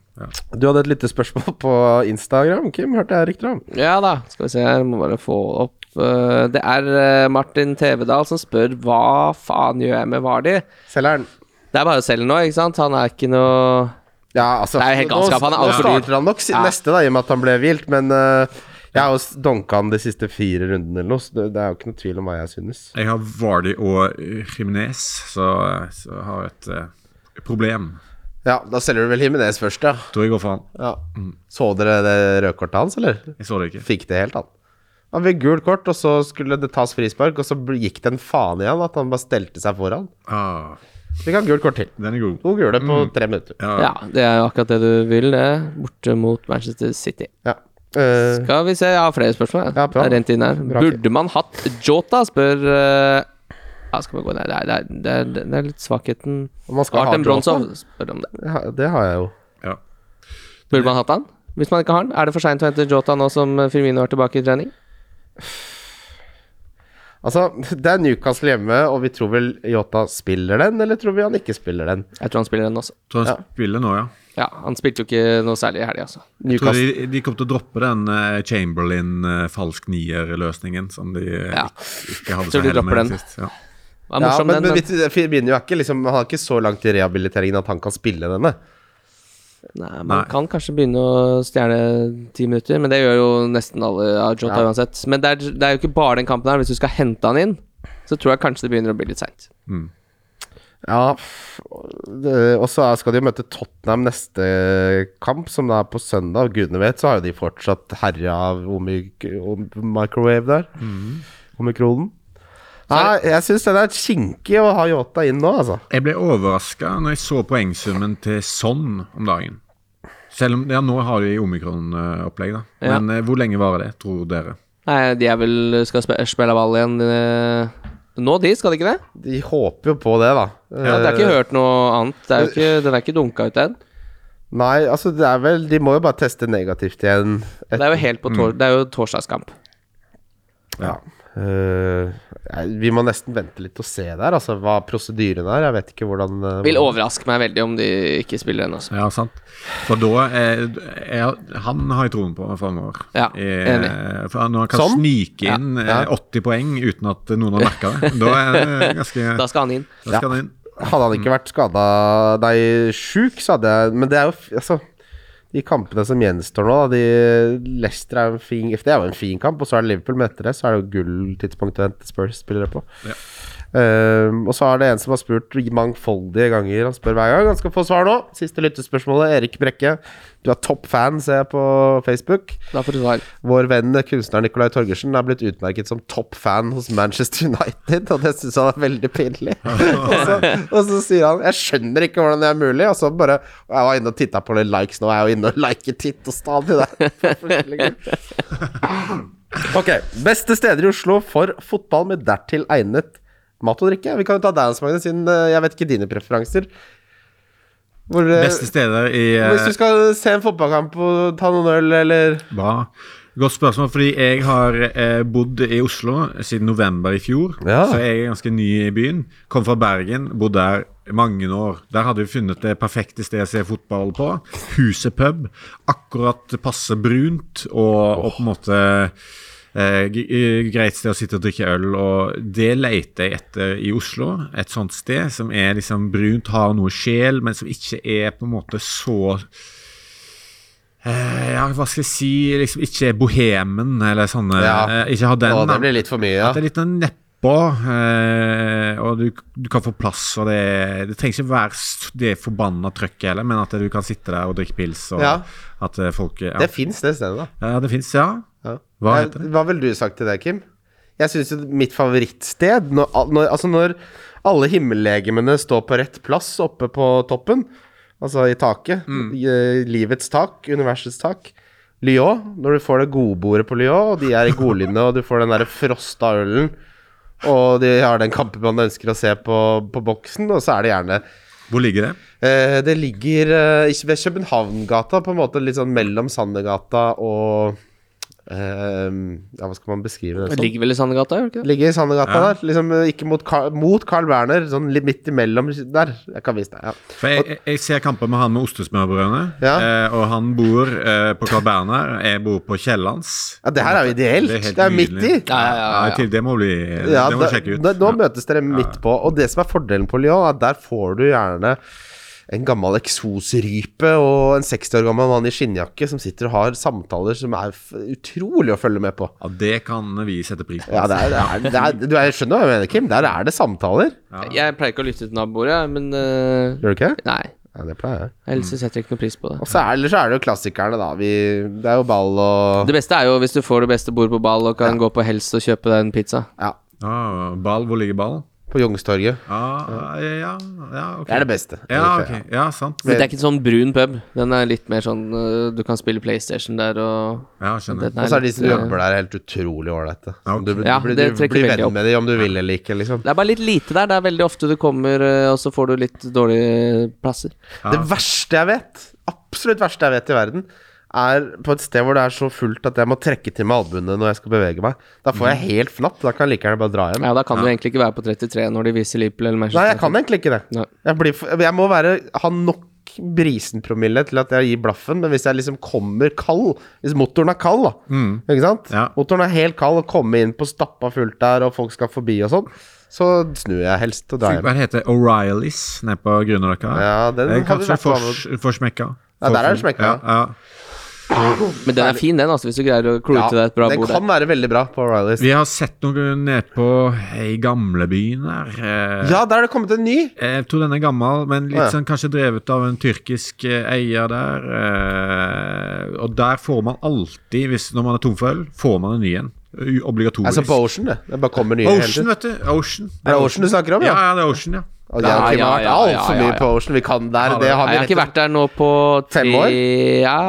Speaker 3: Du hadde et lite spørsmål på Instagram, Kim, hørte jeg rykter om.
Speaker 2: Ja da, skal vi se her, må bare få opp eh, Det er eh, Martin Tevedal som spør hva faen gjør jeg med Vardi?
Speaker 3: Selgeren.
Speaker 2: Det er bare å selge nå, ikke sant? Han er ikke noe
Speaker 3: Ja, altså,
Speaker 2: Det er jo helt
Speaker 3: nå-
Speaker 2: galskap, han er
Speaker 3: nå
Speaker 2: altfor dyr.
Speaker 3: starter han nok si-
Speaker 2: Ja.
Speaker 3: neste, da, i og med at han ble vilt, men eh, jeg har jo donka han de siste fire rundene eller noe, så det, det er jo ikke noe tvil om hva jeg synes.
Speaker 4: Jeg har Vardy og Jiminez, så, så jeg har et eh, problem.
Speaker 3: Ja, da selger du vel Himinez først, ja.
Speaker 4: Tror jeg går for han.
Speaker 3: ja. Så dere det rødkortet hans, eller?
Speaker 4: Jeg så det ikke.
Speaker 3: Fikk det helt, han. Han fikk gult kort, og så skulle det tas frispark, og så bl- gikk det en faen i han at han bare stelte seg foran.
Speaker 4: Ah,
Speaker 3: Fikk han gult kort til.
Speaker 4: den er god.
Speaker 3: To gule på tre minutter.
Speaker 4: Ja.
Speaker 2: Ja, det er jo akkurat det du vil, det. Borte mot Manchester City.
Speaker 3: Ja. Eh,
Speaker 2: Skal vi se, jeg har flere spørsmål. jeg.
Speaker 3: Ja,
Speaker 2: Det
Speaker 3: bra.
Speaker 2: er rent inn her.
Speaker 3: Bra, Kim.
Speaker 2: Burde man hatt Jota, spør eh, Ja, skal vi gå der? Det er, det er, det er, det er litt svakheten.
Speaker 3: og man skal ha
Speaker 2: Artem
Speaker 3: Jota.
Speaker 2: Bronsov spør om det.
Speaker 3: Ja, det har jeg jo.
Speaker 4: Ja.
Speaker 2: Burde man hatt han? Hvis man ikke har han? Er det for seint å hente Jota nå som Firmino er tilbake i trening?
Speaker 3: Altså, det er Newcastle hjemme, og vi tror vel Jota spiller den, eller tror vi han ikke spiller den?
Speaker 2: Jeg tror han spiller den også.
Speaker 4: Tror han
Speaker 3: Ja.
Speaker 4: spiller nå, ja.
Speaker 2: Ja, han spilte jo ikke noe særlig i helga, altså.
Speaker 4: Tror
Speaker 3: Newcastle
Speaker 4: de, de kommer til å droppe den eh, Chamberlain-falsk nier-løsningen som de eh,
Speaker 2: Ja.
Speaker 4: ikke, ikke hadde
Speaker 2: Tror
Speaker 4: så
Speaker 2: de
Speaker 4: hell
Speaker 2: dropper
Speaker 4: med
Speaker 2: den.
Speaker 4: sist. Ja.
Speaker 2: Det var
Speaker 3: ja,
Speaker 2: morsom,
Speaker 3: men,
Speaker 2: den.
Speaker 3: men
Speaker 2: Men,
Speaker 3: vi- Firmino er ikke liksom Han er ikke så langt i rehabiliteringen at han kan spille denne.
Speaker 2: nei, man
Speaker 4: Nei.
Speaker 2: kan kanskje begynne å stjele ti minutter, men det gjør jo nesten alle av Jota
Speaker 3: Ja.
Speaker 2: uansett. Men det er, det er jo ikke bare den kampen her. Hvis du skal hente han inn, så tror jeg kanskje det begynner å bli litt seint.
Speaker 3: Ja, f- det- og så er- skal de jo møte Tottenham neste kamp, som da er på søndag. og Gudene vet, så har jo de fortsatt herja av omik om microwave der. Omikronen. Nei, jeg syns det er kinkig å ha Yota inn nå, altså.
Speaker 4: Jeg ble overraska når jeg så poengsummen til Son om dagen. Selv om, ja, Nå har de omikron-opplegg, da.
Speaker 2: Ja.
Speaker 4: Men eh, hvor lenge varer det, tror dere?
Speaker 2: Nei, de er vel skal spe spille ball igjen eh, nå, de, skal de ikke det?
Speaker 3: De håper jo på det, da.
Speaker 2: Ja, det er ikke hørt noe annet. Det er jo ikke, den er ikke dunka ut ennå.
Speaker 3: Nei, altså det er vel De må jo bare teste negativt igjen. Et,
Speaker 2: Det er jo helt på
Speaker 3: Mm.
Speaker 2: tor det er jo torsdagskamp.
Speaker 3: ja. Eh, nei, vi må nesten vente litt og se der, altså hva prosedyren er. Jeg vet ikke hvordan eh,
Speaker 2: Vil overraske meg veldig om de ikke spiller den også.
Speaker 4: Ja, sant. For da eh, er, Han har jeg troen på framover.
Speaker 2: Ja, enig.
Speaker 4: Eh, for når han kan
Speaker 3: Son?
Speaker 4: snike inn eh, 80 poeng uten at noen har merka det, da er det ganske
Speaker 2: Da skal han inn.
Speaker 4: Da skal han inn.
Speaker 3: Hadde han ikke vært skada Nei, sjuk, så hadde jeg Men det er jo f- Altså de kampene som gjenstår nå, da de, Leicester er jo en fin Det er jo en fin kamp, og så er det Liverpool, men etter det så er det jo gulltidspunkt å hente Spurs-spillere på.
Speaker 4: Ja.
Speaker 3: Ehm, og så er det en som har spurt mangfoldige ganger. Han spør hver gang. Han skal få svar nå. Siste lyttespørsmålet. Erik Brekke, du er topp fan, ser jeg på Facebook.
Speaker 2: Da får du svar.
Speaker 3: Vår venn kunstner Nicolai Torgersen er blitt utmerket som topp fan hos Manchester United, og det syns han er veldig pinlig. og, så, og så sier han 'jeg skjønner ikke hvordan det er mulig', og så bare og Jeg var inne og titta på litt likes nå, jeg er jo inne og liker titt og stadig der. ok. Beste steder i Oslo for fotball med dertil egnet mat og drikke. Vi kan jo ta deg, Hans Magne, siden eh, jeg vet ikke dine preferanser. Hvor, eh,
Speaker 4: Beste steder i eh,
Speaker 3: hvis du skal se en fotballkamp og ta noen øl, eller
Speaker 4: Bra. Godt spørsmål, fordi jeg har eh, bodd i Oslo siden november i fjor.
Speaker 3: Ja.
Speaker 4: Så jeg er ganske ny i byen. Kom fra Bergen, bodd der i mange år. Der hadde vi funnet det perfekte stedet å se fotball på. Huset pub. Akkurat passe brunt og, og på en måte eh, g- eh, greit sted å sitte og drikke øl, og det leter jeg etter i Oslo. Et sånt sted som er liksom brunt, har noe sjel, men som ikke er på en måte så Eh, ja, hva skal jeg si Liksom ikke bohemen eller sånne
Speaker 3: Ja.
Speaker 4: eh, Ikke ha den.
Speaker 3: Å, det
Speaker 4: da.
Speaker 3: blir litt for mye, ja.
Speaker 4: At det er litt den nepp, oppå, eh, og du, du kan få plass, og det, det trenger ikke være s- det forbanna trøkket heller, men at du kan sitte der og drikke pils, og
Speaker 3: Ja.
Speaker 4: at eh, folk ja.
Speaker 3: Det fins det stedet, da.
Speaker 4: ja, det fins, ja.
Speaker 3: Ja.
Speaker 4: Hva
Speaker 3: Eh,
Speaker 4: heter det?
Speaker 3: Hva ville du sagt til det, Kim? Jeg syns mitt favorittsted når, al- når, Altså når alle himmellegemene står på rett plass oppe på toppen, altså i taket,
Speaker 4: Mm.
Speaker 3: i, eh, livets tak, universets tak Lyon, når du får det godbordet på Lyon, og de er i godlinje, og du får den derre frosta ølen, og de har den kampen man ønsker å se på, på boksen, og så er det gjerne
Speaker 4: Hvor ligger det?
Speaker 3: Eh, det ligger eh, ikke ved Københavngata, på en måte litt sånn mellom Sandegata og eh, Ja, hva skal man beskrive det
Speaker 2: Det
Speaker 3: som?
Speaker 2: ligger vel i Sandegata, gjør det ikke det?
Speaker 3: Ligger i Sandegata
Speaker 4: Ja.
Speaker 3: der. Liksom eh, ikke mot, Carl- mot Carl Berner, sånn litt midt imellom der. Jeg kan vise deg. Ja.
Speaker 4: For jeg, jeg, jeg ser kamper med han med ostesmørbrødene,
Speaker 3: Ja.
Speaker 4: eh, og han bor eh, på Carl Berner, jeg bor på Kiellands.
Speaker 3: ja, det her er jo ideelt. Det
Speaker 4: helt
Speaker 3: er, midt i.
Speaker 4: nydelig.
Speaker 2: Ja, ja, ja, ja.
Speaker 4: Ja, til- det må bli
Speaker 3: Ja,
Speaker 4: Det må
Speaker 3: da-
Speaker 4: du sjekke ut.
Speaker 3: da- nå
Speaker 4: ja.
Speaker 3: møtes dere midt på, og det som er fordelen på Lyon, er at der får du gjerne en gammel eksosrype og en 60 år gammel mann i skinnjakke som sitter og har samtaler som er f utrolig å følge med på.
Speaker 4: Ja, det kan vi sette pris på.
Speaker 3: Ja, det er, det er, det er, du er, skjønner hva jeg mener, Kim. Der er det samtaler.
Speaker 2: Jeg pleier ikke å lytte til naboer, jeg, men eh,
Speaker 3: Gjør du ikke?
Speaker 2: Nei.
Speaker 3: Ja, det pleier jeg.
Speaker 2: Ellers så setter jeg ikke noe pris på det.
Speaker 3: Og så er, ellers så er det jo klassikerne, da. Vi, det er jo ball og
Speaker 2: Det beste er jo hvis du får det beste bordet på ball og kan gå på helst og kjøpe deg en pizza.
Speaker 3: Ja,
Speaker 4: Ah, ball, hvor ligger ballen?
Speaker 3: på Youngstorget.
Speaker 4: Ah, ja, ja, ok.
Speaker 3: Det er det beste.
Speaker 4: Ja, ok. Ja, sant.
Speaker 2: Men det er ikke en sånn brun pub. Den er litt mer sånn eh, Du kan spille PlayStation der og
Speaker 4: Ja, skjønner.
Speaker 2: den
Speaker 3: Og så er de
Speaker 2: litt,
Speaker 3: som
Speaker 2: eh,
Speaker 3: jobber der, helt utrolig ålreite.
Speaker 4: Ja, ok.
Speaker 3: Du, du,
Speaker 2: Ja,
Speaker 3: blir-
Speaker 2: det
Speaker 3: du
Speaker 2: trekker
Speaker 3: blir
Speaker 2: veldig
Speaker 3: venn
Speaker 2: opp.
Speaker 3: med dem om du vil eller ikke, liksom.
Speaker 2: Det er bare litt lite der. Det er veldig ofte du kommer, eh, og så får du litt dårlige plasser.
Speaker 4: Ja.
Speaker 3: Det verste jeg vet, absolutt verste jeg vet i verden, er på et sted hvor det er så fullt at jeg må trekke til meg albuene når jeg skal bevege meg. Da får jeg helt fnatt. Da kan jeg like gjerne bare dra hjem.
Speaker 2: Ja, da kan du egentlig ikke være på 33 når de viser Liverpool eller
Speaker 3: Nei,
Speaker 2: Manchester
Speaker 3: jeg kan egentlig ikke det.
Speaker 2: Nei.
Speaker 3: Jeg, blir, for- jeg må være, ha nok brisenpromille til at jeg gir blaffen, men hvis jeg liksom kommer kald Hvis motoren er kald, da.
Speaker 2: Mm.
Speaker 3: Ikke sant?
Speaker 4: Ja.
Speaker 3: Motoren er helt kald og komme inn på stappa fullt der, og folk skal forbi og sånn, så snur jeg helst og drar
Speaker 4: Hva
Speaker 3: hjem.
Speaker 4: heter det? O'Reillys nede på Grünerløkka?
Speaker 3: Ja, den har
Speaker 4: Eh,
Speaker 3: vi
Speaker 4: Kanskje
Speaker 3: vært på.
Speaker 4: Fors- Forsmekka.
Speaker 3: Ja, der er det smekka,
Speaker 4: Ja, ja.
Speaker 2: Men den er fin, den, altså, hvis du greier å
Speaker 3: Ja,
Speaker 2: klote deg et bra
Speaker 3: den
Speaker 2: bord
Speaker 3: kan
Speaker 2: der.
Speaker 3: være veldig bra på O'Reillys.
Speaker 4: Vi har sett noe nede på eh, i gamlebyen der. eh,
Speaker 3: Ja, der er det kommet en ny!
Speaker 4: Jeg tror den er gammel, men litt
Speaker 3: Å, ja.
Speaker 4: sånn kanskje drevet av en tyrkisk eh, eier der. eh, Og der får man alltid, hvis, når man er tom for øl, får man en ny en. U- Obligatorisk.
Speaker 3: Altså på Ocean, det. Det bare kommer nye hele
Speaker 4: Ocean,
Speaker 3: tiden.
Speaker 4: vet du. Ocean.
Speaker 3: Er det Ocean du snakker om,
Speaker 4: Ja,
Speaker 3: ja?
Speaker 4: ja, det er Ocean, ja.
Speaker 3: Og jeg og Kim har
Speaker 2: Ja,
Speaker 3: vært
Speaker 2: ja, ja,
Speaker 3: altfor
Speaker 2: ja,
Speaker 3: mye
Speaker 2: ja.
Speaker 3: på Ocean. Vi kan der. Det har
Speaker 2: Nei,
Speaker 3: vi
Speaker 2: jeg har ikke
Speaker 3: rett
Speaker 2: vært der nå på tre
Speaker 3: Fem år?
Speaker 2: Ja,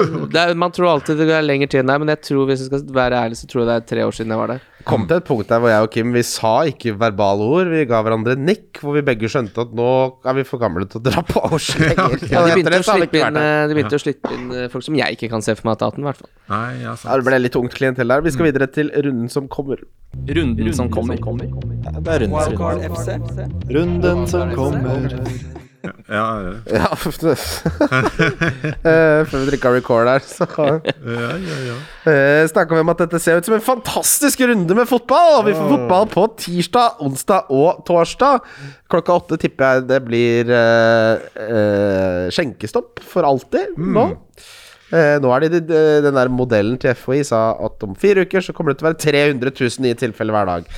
Speaker 2: det er, Man tror alltid det er lenger tid enn det, men jeg tror hvis jeg skal være ærlig, så tror jeg det er tre år siden jeg var der.
Speaker 3: kom til et punkt der hvor jeg og Kim Vi sa ikke verbale ord, vi ga hverandre nikk, hvor vi begge skjønte at nå er vi for gamle til å dra på års lenger.
Speaker 2: Ja,
Speaker 3: Og
Speaker 2: de
Speaker 3: etter
Speaker 2: begynte, å
Speaker 3: det så har vi
Speaker 2: slippe
Speaker 3: ikke vært
Speaker 2: inn,
Speaker 3: der.
Speaker 2: eh, de begynte å slippe inn eh, folk som jeg ikke kan se for meg at i hvert fall.
Speaker 4: Nei,
Speaker 3: eh,
Speaker 4: ja,
Speaker 3: Ja, det
Speaker 4: sant.
Speaker 3: ble litt ungt klientell der. Vi skal videre til runden som kommer.
Speaker 5: Runden som kommer. Det er rundens runde.
Speaker 1: Wildcard FC.
Speaker 5: Runden som kommer.
Speaker 4: Ja, ja,
Speaker 3: Ja, eh, Før vi drikka record her, så
Speaker 4: ja, ja, ja.
Speaker 3: eh, snakka vi om at dette ser ut som en fantastisk runde med fotball. Og vi får fotball på tirsdag, onsdag og torsdag. Klokka åtte tipper jeg det blir eh, eh, skjenkestopp for alltid
Speaker 4: Mm.
Speaker 3: nå. Eh, nå er det de, de, den der modellen til FHI sa at om fire uker så kommer det til å være 300 000 nye tilfeller hver dag.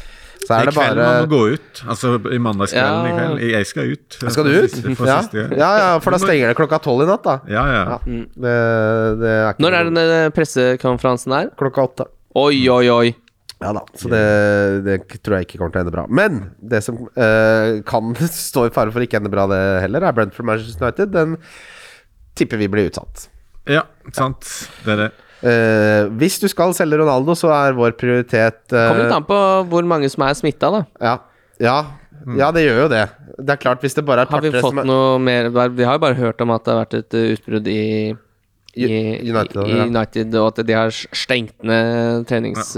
Speaker 3: Så
Speaker 4: I
Speaker 3: er det
Speaker 4: kveld
Speaker 3: bare
Speaker 4: man må gå ut. Altså i mandagskvelden i
Speaker 2: Ja.
Speaker 4: kveld. Jeg skal ut.
Speaker 3: Skal du
Speaker 4: For
Speaker 3: ut?
Speaker 4: siste- For
Speaker 3: Ja.
Speaker 4: siste gang.
Speaker 3: ja, ja, for da stenger det klokka tolv i natt, da.
Speaker 4: Ja, ja.
Speaker 3: Ja, det, det er ikke
Speaker 2: Når er den eh, pressekonferansen her?
Speaker 3: Klokka åtte.
Speaker 2: Oi, oi, oi.
Speaker 3: Ja da, så det, det tror jeg ikke kommer til å ende bra. Men det som eh, kan stå i fare for ikke ende bra, det heller, er Brentford Manchester United. Den tipper vi blir utsatt.
Speaker 4: Ja, sant. Det er det.
Speaker 3: Eh, hvis du skal selge Ronaldo, så er vår prioritet eh,
Speaker 2: Kommer litt an på hvor mange som er smitta, da.
Speaker 3: ja, ja, ja, det gjør jo det. Det er klart, hvis det bare er
Speaker 2: Mm. Har vi
Speaker 3: par-tre
Speaker 2: fått
Speaker 3: som er
Speaker 2: noe mer Vi har jo bare hørt om at det har vært et eh, utbrudd i i,
Speaker 3: U- United,
Speaker 2: i
Speaker 3: ja.
Speaker 2: United, og at de har stengt ned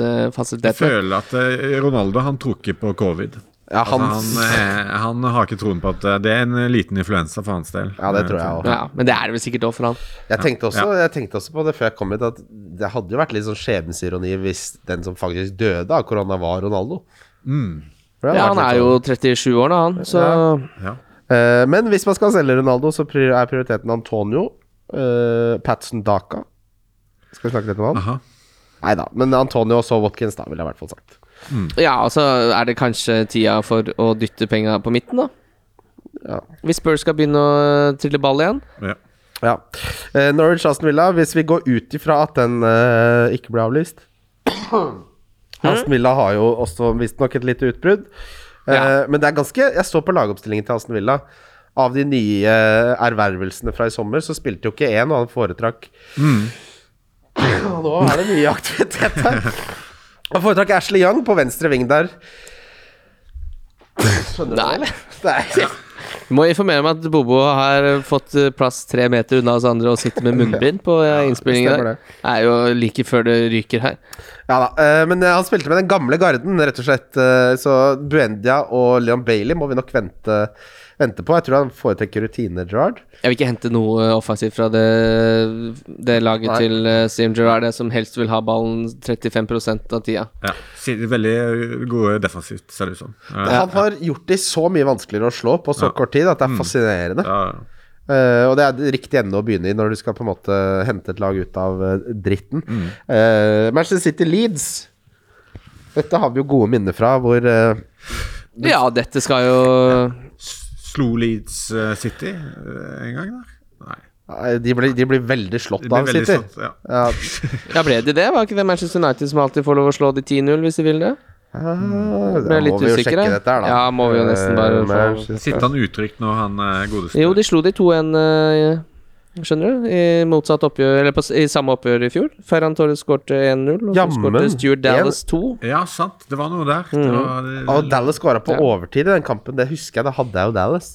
Speaker 4: Jeg
Speaker 2: treningsfasilitetene.
Speaker 4: føler at eh, Ronaldo han tror ikke på covid.
Speaker 3: Ja,
Speaker 4: Altså,
Speaker 3: han,
Speaker 4: han, eh, han har ikke troen på at eh, det er en liten influensa for hans del.
Speaker 3: ja, det tror jeg òg.
Speaker 2: Ja, men det er det vel sikkert òg for han.
Speaker 3: Jeg tenkte, også, jeg tenkte også på det før jeg kom hit, at det hadde jo vært litt sånn skjebnesironi hvis den som faktisk døde av korona, var Ronaldo.
Speaker 4: Mm.
Speaker 3: For det hadde
Speaker 2: Ja,
Speaker 3: vært
Speaker 2: han
Speaker 3: litt
Speaker 2: er
Speaker 3: sånn-
Speaker 2: jo 37 år nå, han, så
Speaker 4: Ja.
Speaker 3: Eh, men hvis man skal selge Ronaldo, så pri- er prioriteten Antonio. eh, Patson Daka. Skal vi snakke litt om han?
Speaker 4: Aha.
Speaker 3: Nei da. Men Antonio og så Watkins, da, ville jeg i hvert fall sagt.
Speaker 2: Ja, og så er det kanskje tida for å dytte penga på midten, da.
Speaker 3: Ja.
Speaker 2: Hvis Spurs skal begynne å eh, trille ball igjen.
Speaker 4: Ja.
Speaker 3: Ja. Eh, Norwich Aston Villa, hvis vi går ut ifra at den eh, ikke ble avlyst Aston Villa har jo også visstnok et lite utbrudd. Eh,
Speaker 2: Ja.
Speaker 3: Men det er ganske Jeg så på lagoppstillingen til Aston Villa. Av de nye eh, ervervelsene fra i sommer, så spilte jo ikke én, og han foretrakk Og Nå er det mye aktivitet her. Han foretrakk Ashley Young på venstre ving der. Skjønner du det, eller? Nei.
Speaker 2: Du må informere om at Bobo har fått eh, plass tre meter unna oss andre og sitter med munnbind på eh, innspillingen.
Speaker 3: stemmer
Speaker 2: der.
Speaker 3: det.
Speaker 2: Det er jo like før det ryker her.
Speaker 3: Ja da, eh, men eh, han spilte med den gamle garden, rett og slett. eh, Så Buendia og Leon Bailey må vi nok vente, vente på. Jeg tror han foretrekker rutine, Gerard.
Speaker 2: Jeg vil ikke hente noe eh, offensivt fra det, det laget
Speaker 3: Nei.
Speaker 2: til eh, Steam Gerrard, det som helst vil ha ballen 35 av tida.
Speaker 4: Ja. Si- Veldig eh, gode defensivt, ser det ut som. Eh,
Speaker 3: Han har gjort de så mye vanskeligere å slå på så
Speaker 4: Ja.
Speaker 3: kort tid at det er fascinerende.
Speaker 4: ja.
Speaker 3: Eh, og det er riktig ende å begynne i når du skal på en måte hente et lag ut av eh, dritten. Eh, Manchester City Leeds. Dette har vi jo gode minner fra, hvor eh,
Speaker 2: Ja, dette skal jo
Speaker 4: S- Slo Leeds eh, City eh, en gang der? Nei.
Speaker 3: de, blir, de blir veldig slått
Speaker 4: Det ble
Speaker 3: av
Speaker 4: veldig
Speaker 3: City.
Speaker 4: sant. Ja.
Speaker 3: Ja,
Speaker 2: Ja, ble de det? Var ikke det Manchester United som alltid får lov å slå de 10-0 hvis de vil det?
Speaker 3: Ah,
Speaker 2: Ble
Speaker 3: da
Speaker 2: litt
Speaker 3: må vi jo
Speaker 2: usikre.
Speaker 3: sjekke dette her, da.
Speaker 2: Ja, må vi jo nesten bare
Speaker 3: Eh,
Speaker 2: få-
Speaker 3: Manchester-
Speaker 4: Sitter han utrygt nå, han eh, godeste?
Speaker 2: Jo, de slo de 2-1, eh, skjønner du, i motsatt oppgjør, eller på, s- i samme oppgjør i fjor. Ferran Torres skårte 1-0, og så
Speaker 3: Jammen.
Speaker 2: skårte Stuart Dallas 2.
Speaker 4: Ja, sant. Det var noe der. Det var, det,
Speaker 3: Og Dallas skåra på
Speaker 2: Ja.
Speaker 3: overtid i den kampen. Det husker jeg. Da hadde jeg jo Dallas.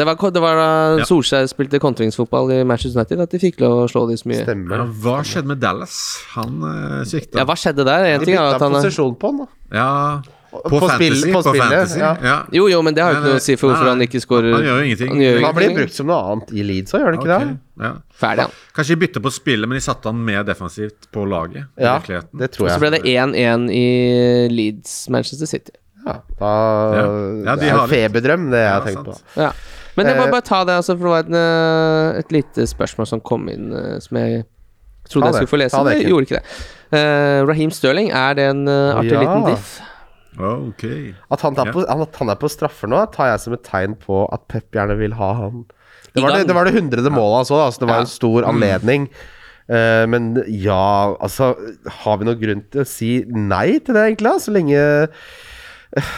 Speaker 2: Det var, ko- det var da
Speaker 4: Ja.
Speaker 2: Solskjær spilte kontringsfotball i Manchester United, at de fikk lov å slå de så mye.
Speaker 3: Stemmer.
Speaker 4: ja, hva skjedde med Dallas? Han uh, sikta.
Speaker 2: Ja, hva skjedde der? En
Speaker 3: De
Speaker 2: ting er
Speaker 3: bytta
Speaker 2: at han er
Speaker 3: posisjon på han, da.
Speaker 4: Ja, på,
Speaker 3: På
Speaker 4: fantasy.
Speaker 3: spillet- på
Speaker 4: på,
Speaker 3: spillet,
Speaker 4: fantasy.
Speaker 3: ja.
Speaker 4: Ja.
Speaker 2: Jo, jo, men det har jo
Speaker 4: Nei,
Speaker 2: ikke noe å
Speaker 4: nei.
Speaker 2: si for hvorfor
Speaker 4: Nei,
Speaker 2: han
Speaker 4: nei.
Speaker 2: ikke skårer.
Speaker 4: Han gjør jo ingenting.
Speaker 2: Han gjør jo
Speaker 3: Men han blir
Speaker 2: ingenting.
Speaker 3: brukt som noe annet i Leeds òg, gjør han ikke
Speaker 4: Ok, ja.
Speaker 2: Ferdig, han.
Speaker 4: Kanskje de bytter på spillet, men de satte han mer defensivt på laget. i
Speaker 3: det? Ja,
Speaker 4: virkeligheten.
Speaker 3: det
Speaker 2: Og
Speaker 3: tror
Speaker 2: så ble det
Speaker 3: jeg.
Speaker 2: 1-1 i Leeds, Manchester City.
Speaker 3: Ja, da,
Speaker 4: Ja, de
Speaker 3: det er
Speaker 4: har
Speaker 3: en feberdrøm, det jeg har
Speaker 4: Ja,
Speaker 3: tenkt på.
Speaker 4: sant.
Speaker 2: Ja. Men jeg må
Speaker 3: Eh,
Speaker 2: bare ta det, altså, for det var en, eh, et lite spørsmål som kom inn, eh, som jeg
Speaker 3: Ta
Speaker 2: trodde jeg
Speaker 3: det.
Speaker 2: skulle få lese,
Speaker 3: Ta
Speaker 2: men
Speaker 3: det,
Speaker 2: jeg
Speaker 3: Kim.
Speaker 2: gjorde ikke det. Eh, Raheem Sterling, er det en eh, artig
Speaker 3: Ja.
Speaker 2: liten diff?
Speaker 4: Ok.
Speaker 3: At han, tar på, at han er på straffer nå, tar jeg som et tegn på at Pep gjerne vil ha han. Det
Speaker 2: I
Speaker 3: var det,
Speaker 2: gang.
Speaker 3: det, var det hundrede målet han så, da, så
Speaker 2: Ja.
Speaker 3: det
Speaker 2: Mm.
Speaker 3: var en stor anledning. Eh, men ja, altså Har vi noen grunn til å si nei til det, egentlig? da? Så lenge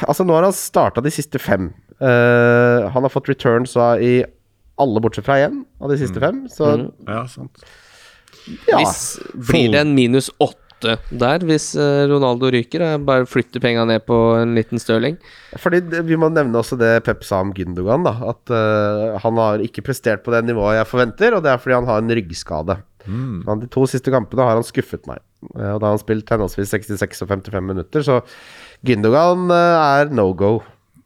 Speaker 3: Altså, nå har han starta de siste fem. Eh, han har fått returns av i alle bortsett fra én av de
Speaker 2: Mm.
Speaker 3: siste fem, så
Speaker 4: Ja, sant.
Speaker 3: ja.
Speaker 2: Hvis, blir det en minus åtte der hvis eh, Ronaldo ryker? Jeg bare flytter penga ned på en liten Sterling.
Speaker 3: Fordi det- Vi må nevne også det Pep sa om Gündogan. Da, at eh, han har ikke prestert på det nivået jeg forventer, og det er fordi han har en ryggskade. Han, de to siste kampene har han skuffet meg. Eh, og Da har han spilt henholdsvis 66 og 55 minutter, så Gündogan eh, er no go.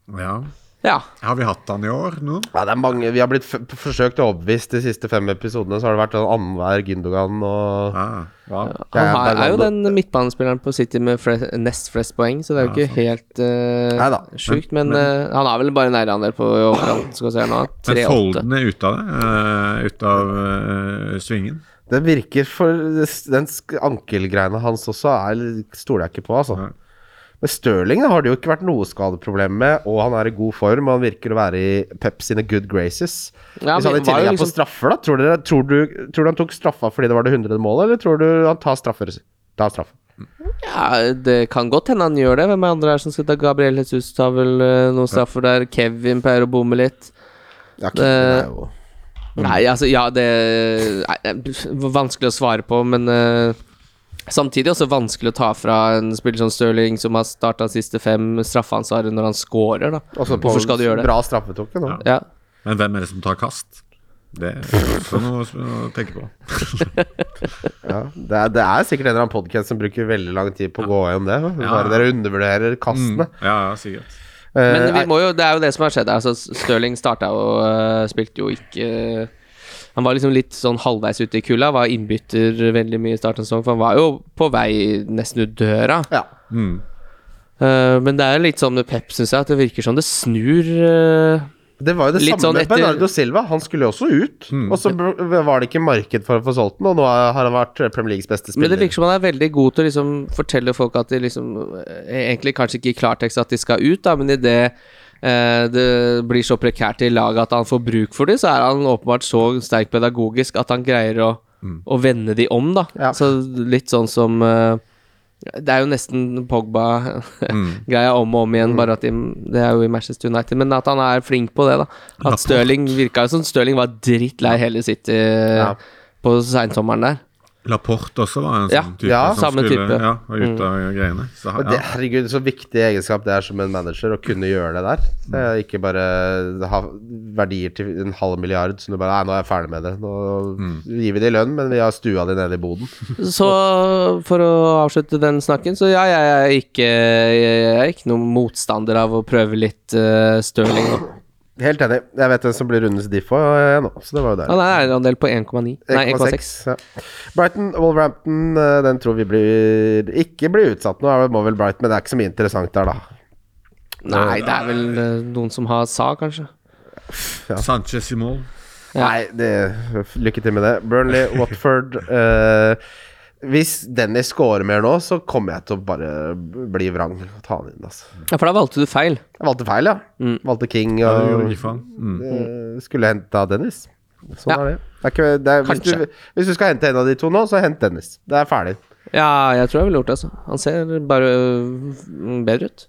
Speaker 4: Ja.
Speaker 2: Ja.
Speaker 4: Har vi hatt han i år nå?
Speaker 3: Ja, det er mange, Vi har blitt f forsøkt overbevist de siste fem episodene, så har det vært sånn annenhver Gündogan og
Speaker 4: Ja. ja.
Speaker 3: Jeg
Speaker 2: Han
Speaker 3: er
Speaker 2: har, er jo
Speaker 3: Bernardo.
Speaker 2: den midtbanespilleren på City med fle nest flest poeng, så det er jo ikke helt
Speaker 3: Neida.
Speaker 2: uh, sjukt. Men, eh, han har vel bare en eierandel på i overkant, skal vi se her nå.
Speaker 4: Men
Speaker 2: 3-8.
Speaker 4: Folden er ute av det. eh, ut av eh, svingen.
Speaker 3: Den virker for Den sk- ankelgreiene hans også er, stoler jeg ikke på, altså.
Speaker 4: Nei.
Speaker 3: Men Stirling har det jo ikke vært noe skadeproblem med, og han er i god form. Og han virker å være i Pep sine good graces.
Speaker 2: Ja,
Speaker 3: Hvis han
Speaker 2: men
Speaker 3: i
Speaker 2: var
Speaker 3: tillegg
Speaker 2: jo
Speaker 3: er på
Speaker 2: liksom-
Speaker 3: straffer, da, tror, dere, tror, du, tror du han tok straffa fordi det var det hundrede målet, eller tror du han tar straffer? Tar straffer.
Speaker 2: Ja, det kan godt hende han gjør det. Hvem andre er det som skal ta Gabriel Jesus tar vel eh, noen straffer der? Kevin pleier å bomme litt.
Speaker 3: Ja,
Speaker 2: Kevin er Nei, altså Ja, det nei, det er vanskelig å svare på, men eh, Samtidig også vanskelig å ta fra en spiller som Stirling, som har starta siste fem straffansvaret når han scorer, da.
Speaker 3: Også på
Speaker 2: Hvorfor skal du gjøre det?
Speaker 3: Altså, Bra straffetok. Ja.
Speaker 2: Ja.
Speaker 4: Men hvem er det som tar kast? Det er også noe å tenke på.
Speaker 3: Ja. Det, er- det er sikkert en eller annen podkast som bruker veldig lang tid på å gå gjennom det. Bare dere undervurderer kastene.
Speaker 4: Mm. Ja, ja, sikkert.
Speaker 3: Eh,
Speaker 2: Mm. Men vi
Speaker 3: nei,
Speaker 2: må jo, det er jo det som har skjedd. Altså, Stirling starta og øh, spilte jo ikke øh, Han var liksom litt sånn halvveis ute i kulda. Var innbytter veldig mye i starten av sesongen, for han var jo på vei nesten ut døra.
Speaker 3: ja.
Speaker 2: Eh, men det er jo litt sånn med Pep, syns jeg, at det virker som det snur. eh,
Speaker 3: Det var jo det
Speaker 2: Litt
Speaker 3: samme
Speaker 2: sånn
Speaker 3: med
Speaker 2: etter- Hmm.
Speaker 3: Bernardo Silva. Han skulle jo også ut. Og så br- var det ikke marked for å få solgt den, og nå har han vært Premier Leagues beste
Speaker 2: Men
Speaker 3: spiller.
Speaker 2: det virker som han er veldig god til å liksom fortelle folk at de liksom eh, Egentlig kanskje ikke i klartekst at de skal ut, da, men idet eh, det blir så prekært i laget at han får bruk for det, så er han åpenbart så sterk pedagogisk at han greier å, å vende de om, da.
Speaker 3: Ja.
Speaker 2: Så litt sånn som eh, det er jo nesten Pogba-greia om og om igjen, bare at de, det er jo i Manchester United. Men at han er flink på det, da. At Stirling virka jo som Stirling var drittlei hele City eh,
Speaker 3: Ja.
Speaker 2: på seinsommeren der.
Speaker 4: Laporte også var en
Speaker 2: Ja,
Speaker 4: sånn type.
Speaker 3: ja,
Speaker 2: samme type. Mm.
Speaker 4: Ja, var ute av greiene. Så,
Speaker 3: Og det,
Speaker 4: ja.
Speaker 3: herregud, så viktig egenskap det er som en manager, å kunne gjøre det der. Det er ikke bare ha verdier til en halv milliard som du bare Nei, nå er jeg ferdig med det. Nå
Speaker 2: Hmm.
Speaker 3: gir vi de lønn, men vi har stua di nede i boden.
Speaker 2: Så for å avslutte den snakken, så ja, jeg er ikke, jeg er ikke noen motstander av å prøve litt uh, Stirling nå.
Speaker 3: Helt enig. Jeg vet hvem som blir rundens Diff òg nå, så det var jo der.
Speaker 2: Han er eierandel på 1,9. Nei, 1,6.
Speaker 3: Ja. Brighton, Wolverhampton, eh, den tror vi blir ikke blir utsatt nå. er det- Må vel Brighton, men det er ikke så mye interessant der, da.
Speaker 2: Nei, det er vel eh, noen som har sa, kanskje.
Speaker 4: Sanchez i mål.
Speaker 2: Ja.
Speaker 3: Nei, det, lykke til med det. Burnley, Watford eh, Hvis Dennis scorer mer nå, så kommer jeg til å bare bli vrang. Ta han inn, altså.
Speaker 2: Ja, for da valgte du feil.
Speaker 3: Jeg valgte feil, ja.
Speaker 2: Mm.
Speaker 3: Valgte King
Speaker 4: Ja, det
Speaker 3: og
Speaker 4: gjorde ikke faen. Mm.
Speaker 3: eh, skulle henta Dennis. Sånn
Speaker 2: Ja.
Speaker 3: er det. det, er ikke, det er, hvis,
Speaker 2: Kanskje.
Speaker 3: du, hvis du skal hente en av de to nå, så hent Dennis. Det er ferdig.
Speaker 2: Ja, jeg tror jeg ville gjort det, altså. Han ser bare eh, bedre ut.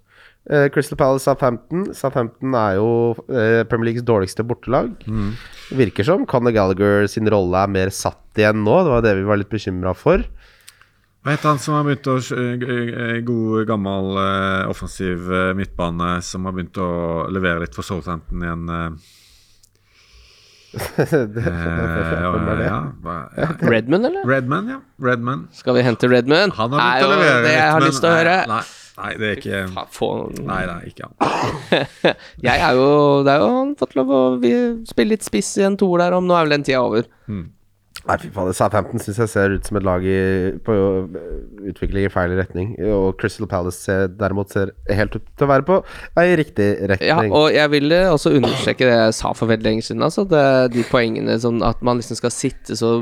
Speaker 3: Eh, Crystal Palace Southampton. Southampton er jo eh, Premier Leagues dårligste bortelag.
Speaker 2: Mm.
Speaker 3: Virker som Conor Gallagher sin rolle er mer satt igjen nå. Det var det vi var litt bekymra for.
Speaker 4: Hva heter han som har begynt å kjø- eh, eh, God, gammel eh, offensiv eh, midtbane som har begynt å levere litt for Southampton igjen? eh, eh,
Speaker 3: er det?
Speaker 4: ja, hva- ja.
Speaker 2: Redmond, eller?
Speaker 4: Redman, ja. Redman.
Speaker 2: Skal vi hente Redmond?
Speaker 4: Han har begynt å levere litt,
Speaker 2: det jeg har
Speaker 4: men-
Speaker 2: lyst til å høre.
Speaker 4: Nei, nei, nei det er ikke
Speaker 2: Fa- Få,
Speaker 4: Nei, nei, ikke han.
Speaker 2: jeg er jo Det er jo han fått lov å vi, spille litt spiss i en toer der om. Nå er vel den tida over.
Speaker 3: Nei, fy faen, Southampton syns jeg ser ut som et lag i, på øh, utvikling i feil retning. Og Crystal Palace ser, derimot ser helt ut til å være på Nei, i riktig
Speaker 2: Ja,
Speaker 3: retning.
Speaker 2: og jeg ville også understreke det jeg sa for veldig lenge siden. Altså, det, de poengene sånn at man liksom skal sitte så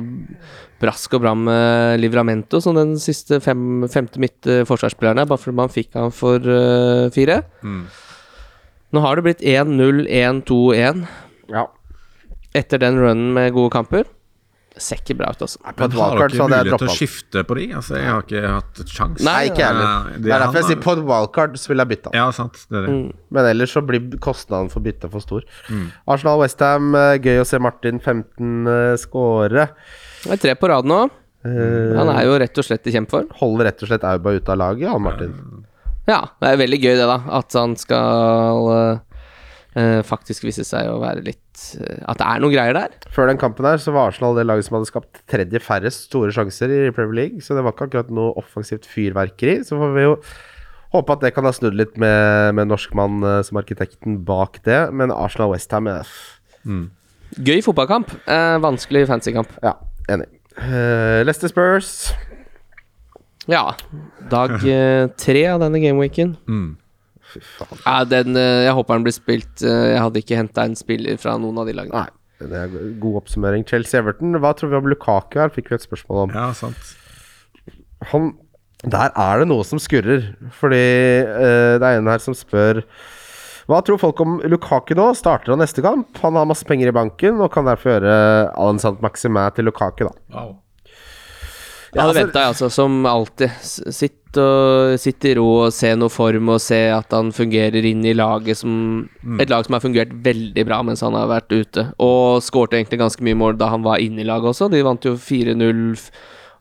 Speaker 2: brask og bra med Livramento som den siste fem, femte midt eh, forsvarsspilleren, er, bare fordi man fikk han for eh, fire. Nå har det blitt 1-0, 1-2-1
Speaker 3: ja.
Speaker 2: etter den runnen med gode kamper. Ser ikke bra ut, altså.
Speaker 3: På et
Speaker 4: Men har
Speaker 3: wildcard så hadde
Speaker 4: dere
Speaker 3: jeg
Speaker 4: mulighet til
Speaker 3: droppa
Speaker 4: å
Speaker 3: han.
Speaker 4: skifte på de? Altså, jeg har ikke hatt et sjans.
Speaker 3: Nei, ikke jeg heller.
Speaker 4: Nei, det
Speaker 3: Det er
Speaker 4: er
Speaker 3: derfor jeg
Speaker 4: han,
Speaker 3: sier Mm. på et wildcard så vil jeg bytte han.
Speaker 4: Ja, sant. Det er det.
Speaker 3: Men ellers så blir kostnaden for bytte for stor.
Speaker 4: Mm.
Speaker 3: Arsenal Westham, gøy å se Martin 15 eh, score.
Speaker 2: Det er tre på rad nå.
Speaker 3: Eh,
Speaker 2: Han er jo rett og slett i kjempeform.
Speaker 3: Holder rett og slett Auba ute av laget, han Martin.
Speaker 2: Ja, det er veldig gøy det, da. At han skal eh, eh, faktisk vise seg å være litt eh, At det er noen greier der.
Speaker 3: Før den kampen her så var Arsenal det laget som hadde skapt tredje færrest store sjanser i Premier League, så det var ikke akkurat noe offensivt fyrverkeri. Så får vi jo håpe at det kan ha snudd litt med, med norskmann eh, som arkitekten bak det, men Arsenal eh, Westham er
Speaker 2: Gøy fotballkamp. Eh, vanskelig fancykamp.
Speaker 3: Ja, enig. Eh, Leicester Spurs
Speaker 2: Ja. Dag eh, tre av denne gameweeken.
Speaker 4: Mm.
Speaker 3: Fy faen.
Speaker 2: Ja, den, eh, jeg håper den blir spilt. Eh, jeg hadde ikke henta en spiller fra noen av de lagene.
Speaker 3: Nei, det er god oppsummering. Chelsea Everton, hva tror vi om Lukaku her? Fikk vi et spørsmål om.
Speaker 4: Ja, sant.
Speaker 3: han Der er det noe som skurrer. Fordi eh, det er en her som spør Hva tror folk om Lukaku nå? Starter han neste kamp? Han har masse penger i banken og kan derfor gjøre Alan Sant Maximin til Lukaku, da.
Speaker 4: Wow.
Speaker 2: Jeg hadde
Speaker 3: altså-
Speaker 2: venta, jeg altså, som alltid. S- Sitt, og, sitt i ro og se noe form, og se at han fungerer inn i laget som
Speaker 3: Mm.
Speaker 2: Et lag som har fungert veldig bra mens han har vært ute. Og skårte egentlig ganske mye mål da han var inne i laget også. De vant jo 4-0 f-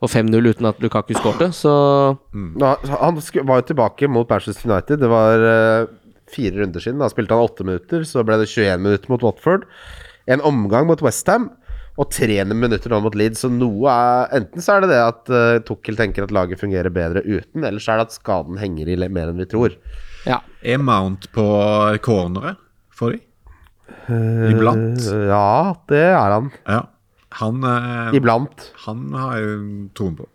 Speaker 2: og 5-0 uten at Lukaku skårte, så
Speaker 3: Nå, han sku, var jo tilbake mot Manchester United. Det var eh, fire runder siden. Da spilte han åtte minutter. Så ble det 21 minutter mot Watford. En omgang mot Westham. Og 300 minutter nå mot Leeds, så noe er Enten så er det det at uh, Tukkel tenker at laget fungerer bedre uten, eller så er det at skaden henger i le- mer enn vi tror.
Speaker 2: ja.
Speaker 4: Er Mount på corneret for de? Iblant.
Speaker 3: Ja, det er han.
Speaker 4: Ja. Han, eh,
Speaker 3: Iblant.
Speaker 4: han har jeg jo troen på.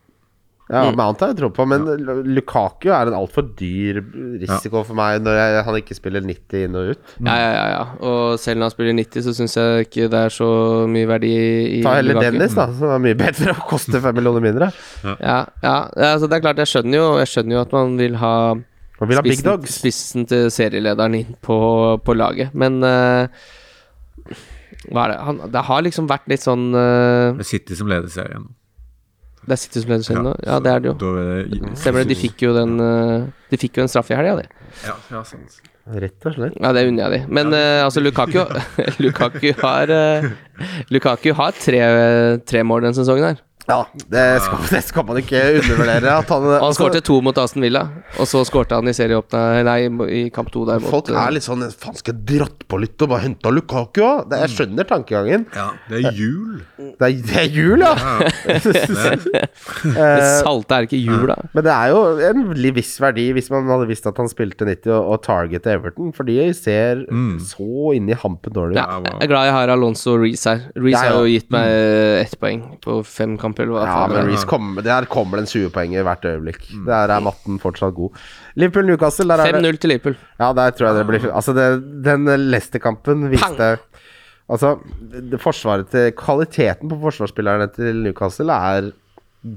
Speaker 3: Ja,
Speaker 2: Mm.
Speaker 3: Mount har jeg tro på, men Lukaku er en altfor dyr risiko for meg når jeg, han ikke spiller 90 inn og ut.
Speaker 2: Ja, ja, ja, ja. Og selv når han spiller 90, så syns jeg ikke det er så mye verdi i
Speaker 3: Ta heller
Speaker 2: Lukaku.
Speaker 3: Dennis, da, som er mye bedre og koster 5 millioner mindre.
Speaker 2: Ja, ja. Altså, det er klart, jeg skjønner jo, jeg skjønner jo at man vil ha
Speaker 3: Man vil ha big
Speaker 2: spissen,
Speaker 3: dogs.
Speaker 2: spissen til serielederen inn på, på laget, men eh, hva er det? Han, det har liksom vært litt sånn eh,
Speaker 4: Det er City som leder serien nå.
Speaker 2: Det er City som leder serien nå? Ja,
Speaker 4: så
Speaker 2: det er det jo.
Speaker 4: da er det-
Speaker 2: Stemmer det. De fikk jo den eh, De fikk jo en straff i helga, de.
Speaker 4: Ja, ja, sant.
Speaker 3: Rett og slett.
Speaker 2: Ja, det unner jeg de. Men eh, altså, Lukaku Lukaku har eh, Lukaku har tre, tre mål denne sesongen her.
Speaker 3: Ja, det skal, det skal man ikke undervurdere. At han,
Speaker 2: Og han skårte to mot Aston Villa, og så skårte han i serieåpna Nei, i kamp to der mot
Speaker 3: Folk
Speaker 2: eh,
Speaker 3: er litt sånn Faen, skal jeg dratt på litt og bare henta Lukaku òg? Jeg
Speaker 2: Mm.
Speaker 3: skjønner tankegangen.
Speaker 4: Ja, det er jul.
Speaker 3: Det er, det er jul, ja!
Speaker 4: Ja,
Speaker 2: Det salte er ikke jula.
Speaker 3: Men det er jo en li- viss verdi hvis man hadde visst at han spilte 90 og, og targetet Everton, for de ser så inni hampen dårlig
Speaker 2: Mm. Ja,
Speaker 3: ut.
Speaker 4: wow.
Speaker 2: jeg er glad jeg har Alonso og Reece her. Reece
Speaker 3: Ja, ja.
Speaker 2: har jo gitt meg eh, ett poeng på fem kamper. Eller hva
Speaker 3: Ja,
Speaker 2: faen Mm. det
Speaker 3: men
Speaker 2: er.
Speaker 3: Reece kommer, der kommer den 20-poenget hvert øyeblikk. Der er matten fortsatt god. Liverpool-Newcastle, der er det
Speaker 2: 5-0 til Liverpool.
Speaker 3: Ja, der tror jeg det
Speaker 2: Ah.
Speaker 3: blir Altså, det, den Leicester-kampen viste Altså, det, forsvaret til Kvaliteten på forsvarsspillerne til Newcastle er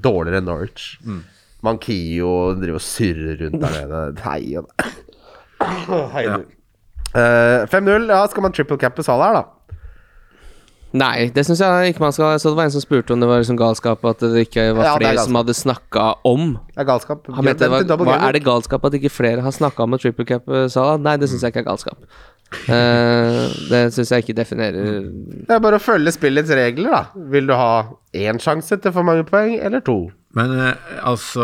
Speaker 3: dårligere enn Norwich.
Speaker 2: Mm.
Speaker 3: Mankio driver og surrer rundt der nede. Hei og Hei, du. Eh, 5-0, ja, skal man triple cappe Salah her, da?
Speaker 2: Nei, det syns jeg ikke man skal. Jeg så det var en som spurte om det var liksom galskap at det ikke var
Speaker 3: Ja, det er
Speaker 2: flere som
Speaker 3: galskap.
Speaker 2: hadde snakka om.
Speaker 3: Det er galskap.
Speaker 2: Han mente det
Speaker 3: Vent til
Speaker 2: var,
Speaker 3: double
Speaker 2: hva,
Speaker 3: game.
Speaker 2: Er det galskap at ikke flere har snakka om en triple cap, eh, Salah? Nei, det syns jeg ikke er galskap. Eh, det syns jeg ikke definerer
Speaker 3: Det er bare å følge spillets regler, da. Vil du ha én sjanse til for mange poeng, eller to?
Speaker 4: Men eh, altså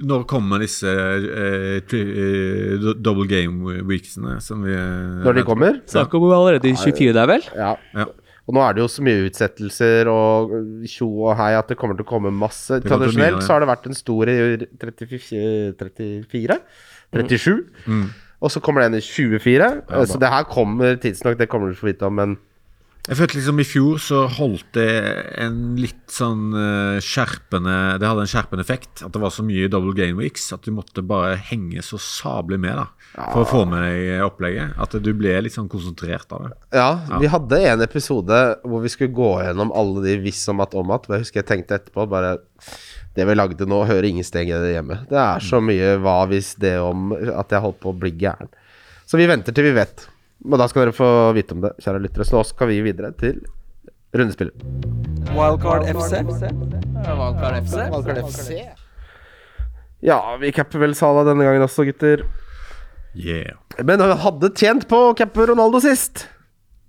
Speaker 4: Når kommer disse eh, tri, eh, do- double game weeksene som vi eh,
Speaker 3: Når de kommer?
Speaker 2: Snakk om allerede i 24 der, vel?
Speaker 3: Ja.
Speaker 4: Ja.
Speaker 3: Og nå er det jo så mye utsettelser og tjo og hei at det kommer til å komme masse.
Speaker 4: kommer til å bli mye,
Speaker 3: Tradisjonelt
Speaker 4: ja.
Speaker 3: så har det vært en stor i 34, 34 37. Og så kommer det en i 24.
Speaker 4: Mm. Ja,
Speaker 3: så
Speaker 4: da.
Speaker 3: det her kommer tidsnok, det kommer du til å få vite om, men
Speaker 4: Jeg følte liksom i fjor så holdt det en litt sånn eh, skjerpende Det hadde en skjerpende effekt. At det var så mye double game weeks at du måtte bare henge så sablig med da for å få med deg eh, opplegget. At du ble litt sånn konsentrert av det.
Speaker 3: Ja, vi hadde en episode hvor vi skulle gå gjennom alle de hvis om at om at. og Jeg husker jeg tenkte etterpå bare Det vi lagde nå, hører ingen steg i det hjemme. Det er så mye hva hvis det om at jeg holdt på å bli gæren. Så vi venter til vi vet. Og da skal dere få vite om det, kjære lyttere. Så nå skal vi videre til rundespillet.
Speaker 1: Wildcard FC.
Speaker 3: Ja, vi capper vel Sala denne gangen også, gutter.
Speaker 4: Yeah.
Speaker 3: Men han hadde tjent på å cappe Ronaldo sist.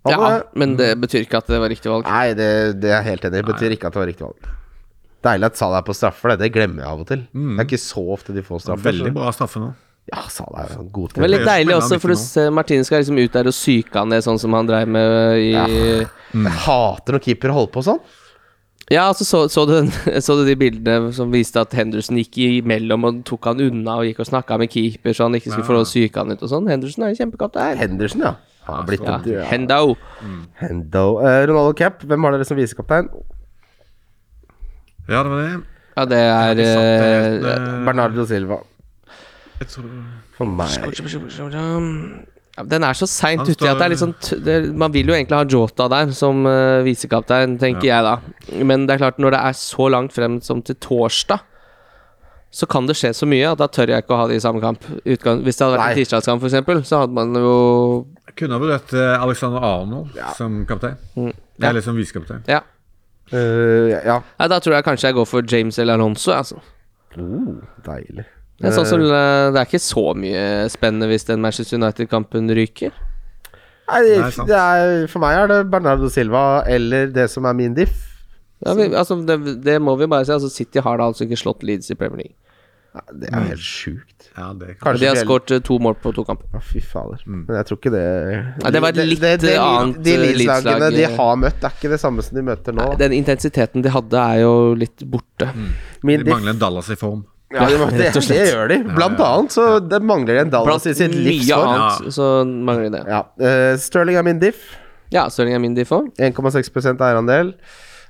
Speaker 3: Hadde
Speaker 2: Ja,
Speaker 3: det.
Speaker 2: men det betyr ikke at det var riktig valg.
Speaker 3: Nei, det, det er jeg helt enig i. Det betyr ikke at det var riktig valg. Deilig at Salah er på straffer, det. Det glemmer jeg av og til. Det er ikke så ofte de får straffer.
Speaker 4: Mm. Veldig bra straffe nå.
Speaker 3: så- Ja, Salah er en god
Speaker 2: Det var
Speaker 3: til
Speaker 2: litt
Speaker 4: Det er
Speaker 2: deilig
Speaker 4: spennende
Speaker 2: også, for du
Speaker 4: nå.
Speaker 2: ser Martin skal liksom ut der og psyke han ned, sånn som han dreiv med i
Speaker 3: Jeg hater når keepere holder på sånn.
Speaker 2: Ja, altså, så, så, du, den- så du de bildene som viste at Henderson gikk imellom og tok han unna og gikk og snakka med keeper, så han ikke skulle få lov å psyke han ut og sånn? Henderson er en kjempekaptein.
Speaker 3: Henderson, ja. Han har blitt
Speaker 2: Ja.
Speaker 3: en død- ja.
Speaker 2: Hendo.
Speaker 3: Hendo. Eh, Ronaldo Cap, hvem har dere som visekaptein?
Speaker 4: Ja, det var det.
Speaker 2: Ja, det er
Speaker 4: Jeg satt helt,
Speaker 2: eh,
Speaker 4: eh,
Speaker 3: Bernardo Silva.
Speaker 4: jeg tror-
Speaker 3: For meg
Speaker 2: ja, Den er så seint
Speaker 4: Han
Speaker 2: uti at det er
Speaker 4: står-
Speaker 2: litt sånn t det, Man vil jo egentlig ha Jota der som eh, visekaptein, tenker jeg da. Men det er klart, når det er så langt frem som til torsdag, så kan det skje så mye at da tør jeg ikke å ha det i samme kamp. Utgang, hvis det hadde vært en
Speaker 3: Nei.
Speaker 2: tirsdagskamp, for eksempel så hadde man jo
Speaker 4: Jeg kunne ha vurdert eh, Alexander Arnold som kaptein.
Speaker 2: Ja.
Speaker 4: Eller som visekaptein.
Speaker 2: Ja.
Speaker 3: Eh, Ja.
Speaker 2: Nei, da tror jeg kanskje jeg går for James eller Alonso, altså.
Speaker 3: Oh, deilig.
Speaker 2: Det er, sånn som, eh, det er ikke så mye spennende hvis den Manchester United-kampen ryker.
Speaker 3: Nei,
Speaker 4: Nei, sant.
Speaker 3: det er, for meg er det Bernardo Silva eller det som er min diff.
Speaker 2: Ja, vi, altså, det, det må vi bare si. Altså, City har da altså ikke slått Leeds i Premier League.
Speaker 3: Nei, Det er jo helt sjukt.
Speaker 4: Ja, det
Speaker 2: Mm. Og de har
Speaker 3: fjell-
Speaker 2: skåret eh, to mål på to kamper.
Speaker 3: Ja, fy fader.
Speaker 4: Mm.
Speaker 3: Men jeg tror ikke det
Speaker 2: Nei, det var et litt annet eh,
Speaker 3: De Leeds-lagene de
Speaker 2: Leeds-lag.
Speaker 3: har møtt, er ikke det samme som de møter nå.
Speaker 2: Den intensiteten de hadde, er jo litt borte.
Speaker 3: Min
Speaker 4: De
Speaker 3: diff-
Speaker 4: mangler en Dallas i form.
Speaker 3: ja, de mangler,
Speaker 2: rett og
Speaker 3: det, det
Speaker 2: slett.
Speaker 3: gjør de. Blant annet så det mangler de en Dallas
Speaker 2: Blant
Speaker 3: i sitt
Speaker 2: mye
Speaker 3: livsår.
Speaker 2: annet så mangler de det.
Speaker 3: Ja. eh, Sterling er min diff.
Speaker 2: Ja, Stirling er min de får.
Speaker 3: Sterling er min diff. 1,6 eierandel.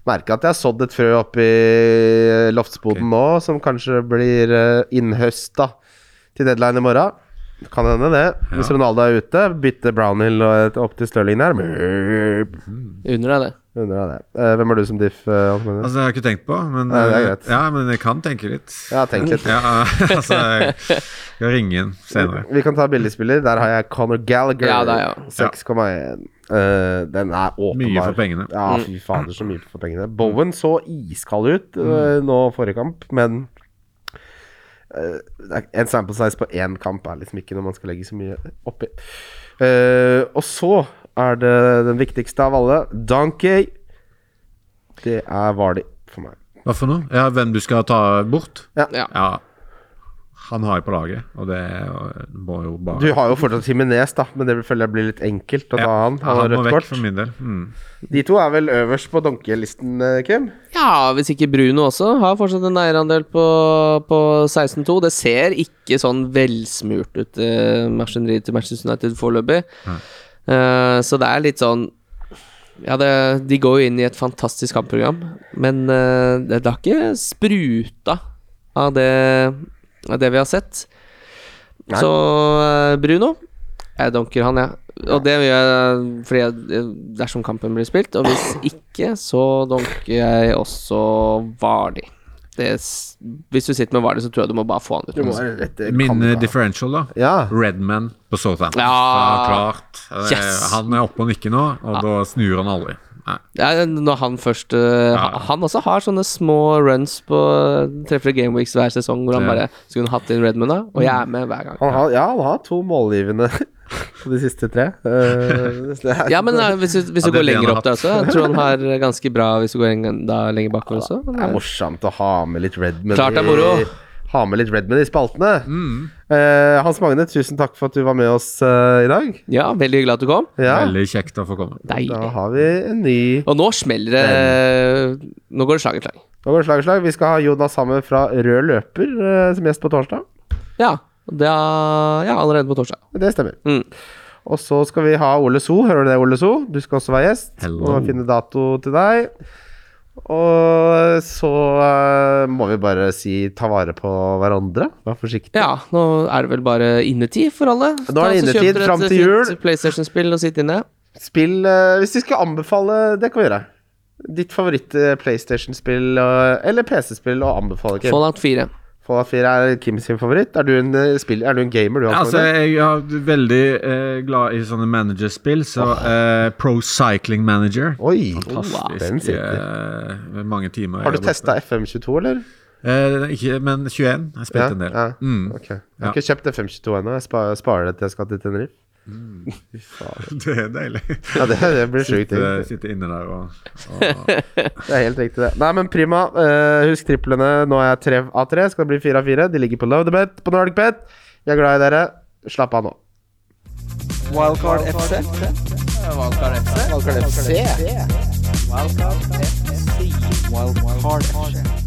Speaker 3: merker at jeg har sådd et frø oppi loftsboden nå, som kanskje blir innhøsta til deadline i morgen. Kan hende det. Hvis Ronaldo er ute, bytte Brownhill og et- opp til Stirling der.
Speaker 2: Unner deg det.
Speaker 3: Undrer deg det. Eh, Hvem er du som diff? eh, Hans Magnus?
Speaker 4: Altså, det har jeg ikke tenkt på, men,
Speaker 3: Nei, det er
Speaker 4: eh,
Speaker 3: greit.
Speaker 4: ja, men jeg kan tenke litt.
Speaker 3: Jeg har tenkt litt.
Speaker 4: Ja, altså, jeg skal ringe inn senere.
Speaker 3: Vi kan ta billigspiller. Der har jeg Conor Gallagher.
Speaker 2: Ja, det er jeg
Speaker 3: 6,1. Eh, den er åpenbar.
Speaker 4: Mye for pengene.
Speaker 3: Ja,
Speaker 2: Mm.
Speaker 3: fy fader, så mye for pengene. Bowen så iskald ut
Speaker 2: Mm.
Speaker 3: eh, nå forrige kamp, men eh, det er- en sample size på én kamp er liksom ikke når man skal legge så mye oppi. Eh, og så er det den viktigste av alle, Donkey. Det er Vardy for meg.
Speaker 4: Hva for noe? Ja, Hvem du skal ta bort?
Speaker 2: Ja.
Speaker 4: Ja. Han har jeg på laget, og det er jo- må jo bare
Speaker 3: Du har jo fortsatt Jimenez, da, men det føler jeg blir litt enkelt å ta
Speaker 4: ja,
Speaker 3: han. Han har
Speaker 4: må
Speaker 3: rødt
Speaker 4: vekk
Speaker 3: kort.
Speaker 4: for min del. Mm.
Speaker 3: De to er vel øverst på donkelisten, eh, Kim?
Speaker 2: Ja, hvis ikke Bruno også har fortsatt en eierandel på, på 16-2. Det ser ikke sånn velsmurt ut, eh, maskineriet til Manchester United foreløpig. Eh, så det er litt sånn Ja, det, de går jo inn i et fantastisk kampprogram, men eh, det, det har ikke spruta av det, av det vi har sett.
Speaker 3: Nei.
Speaker 2: Så eh, Bruno Jeg dunker han, jeg. Og det gjør jeg fordi jeg, dersom kampen blir spilt. Og hvis ikke, så dunker jeg også Vardi. Det, s- hvis du sitter med Vardi, så tror jeg du må bare få han ut.
Speaker 4: Min eh, differential, da.
Speaker 3: Ja.
Speaker 4: Redman på Southampton.
Speaker 2: Ja.
Speaker 4: Så klart. Eh,
Speaker 2: Yes.
Speaker 4: Han er oppe og nikker nå, og da snur han aldri. Nei.
Speaker 2: Ja, når han først øh, ha- Han også har sånne små runs på Treffer gameweeks hver sesong hvor han
Speaker 4: Ja.
Speaker 2: bare skulle hatt inn Redmond, da. Og jeg er med hver gang.
Speaker 3: Han har, ja, han har to målgivende på de siste tre. Eh, det er-
Speaker 2: Ja, men øh, hvis du, hvis du
Speaker 4: Ja,
Speaker 2: går
Speaker 4: det er det han
Speaker 2: lenger
Speaker 4: har
Speaker 2: opp der også Jeg tror han har ganske bra hvis du går enda lenger bakover også. eh,
Speaker 3: det er morsomt å ha med litt Redman
Speaker 2: Klart det er moro.
Speaker 3: Ha med litt Redman i spaltene.
Speaker 4: Mm.
Speaker 3: Eh, Hans Magne, tusen takk for at du var med oss eh, i dag.
Speaker 2: Ja, veldig hyggelig at du kom.
Speaker 3: Ja,
Speaker 4: Veldig kjekt å få komme.
Speaker 3: da
Speaker 2: Deilig.
Speaker 3: har vi en ny
Speaker 2: Og nå smeller det Nå går det slag i slag.
Speaker 3: Nå går det slag i slag. Vi skal ha Jonas Hammer fra Rød løper eh, som gjest på torsdag.
Speaker 2: Ja. Det er, ja, allerede på torsdag.
Speaker 3: Det stemmer.
Speaker 2: Mm.
Speaker 3: Og så skal vi ha Ole So. Hører du det, Ole So? Du skal også være gjest.
Speaker 4: Hello.
Speaker 3: Og finne dato til deg. Og så eh, må vi bare si ta vare på hverandre. Vær forsiktig.
Speaker 2: Ja, nå er det vel bare innetid for alle.
Speaker 3: Nå er det
Speaker 2: Ta og så kjøp
Speaker 3: innetid
Speaker 2: dere et
Speaker 3: fram til
Speaker 2: fint
Speaker 3: jul.
Speaker 2: PlayStation-spill og sitt inne.
Speaker 3: Spill eh, Hvis vi skal anbefale Det kan vi gjøre. Ditt favoritt-PlayStation-spill eh, eller PC-spill å anbefale,
Speaker 4: Sånn.
Speaker 3: Kim.
Speaker 2: Fallout 4.
Speaker 3: Fallout 4 er Kim sin favoritt. Er du en, eh, spill, er du en gamer, du?
Speaker 4: Ja,
Speaker 3: Hans
Speaker 4: altså,
Speaker 3: Magne?
Speaker 4: jeg er veldig eh, glad i sånne managerspill, så eh, Pro Cycling Manager
Speaker 3: Oi! Den
Speaker 4: Fantastisk.
Speaker 3: sitter.
Speaker 4: Eh, mange timer.
Speaker 3: Har du
Speaker 4: jeg borte.
Speaker 3: testa FM22, eller?
Speaker 4: Eh, ikke, men 21. Jeg spilte en del.
Speaker 3: Ja.
Speaker 4: Mm.
Speaker 3: Ok. Jeg har ikke kjøpt FM22 ennå. Jeg spa- sparer det til jeg skal til Tenerife.
Speaker 4: Det er deilig.
Speaker 3: Ja, det, det blir sjukt.
Speaker 4: Sitte,
Speaker 3: egentlig.
Speaker 4: sitte inne der og, og
Speaker 3: Det er helt riktig, det. Nei, men prima. Eh, husk triplene. Nå er jeg tre av tre. Skal det bli fire av fire? De ligger på Love the Bet, på Nordic Bet. Vi er glad i dere. Slapp av nå.
Speaker 1: Wildcard FC. Wildcard FC. Wildcard FC. Wildcard FC.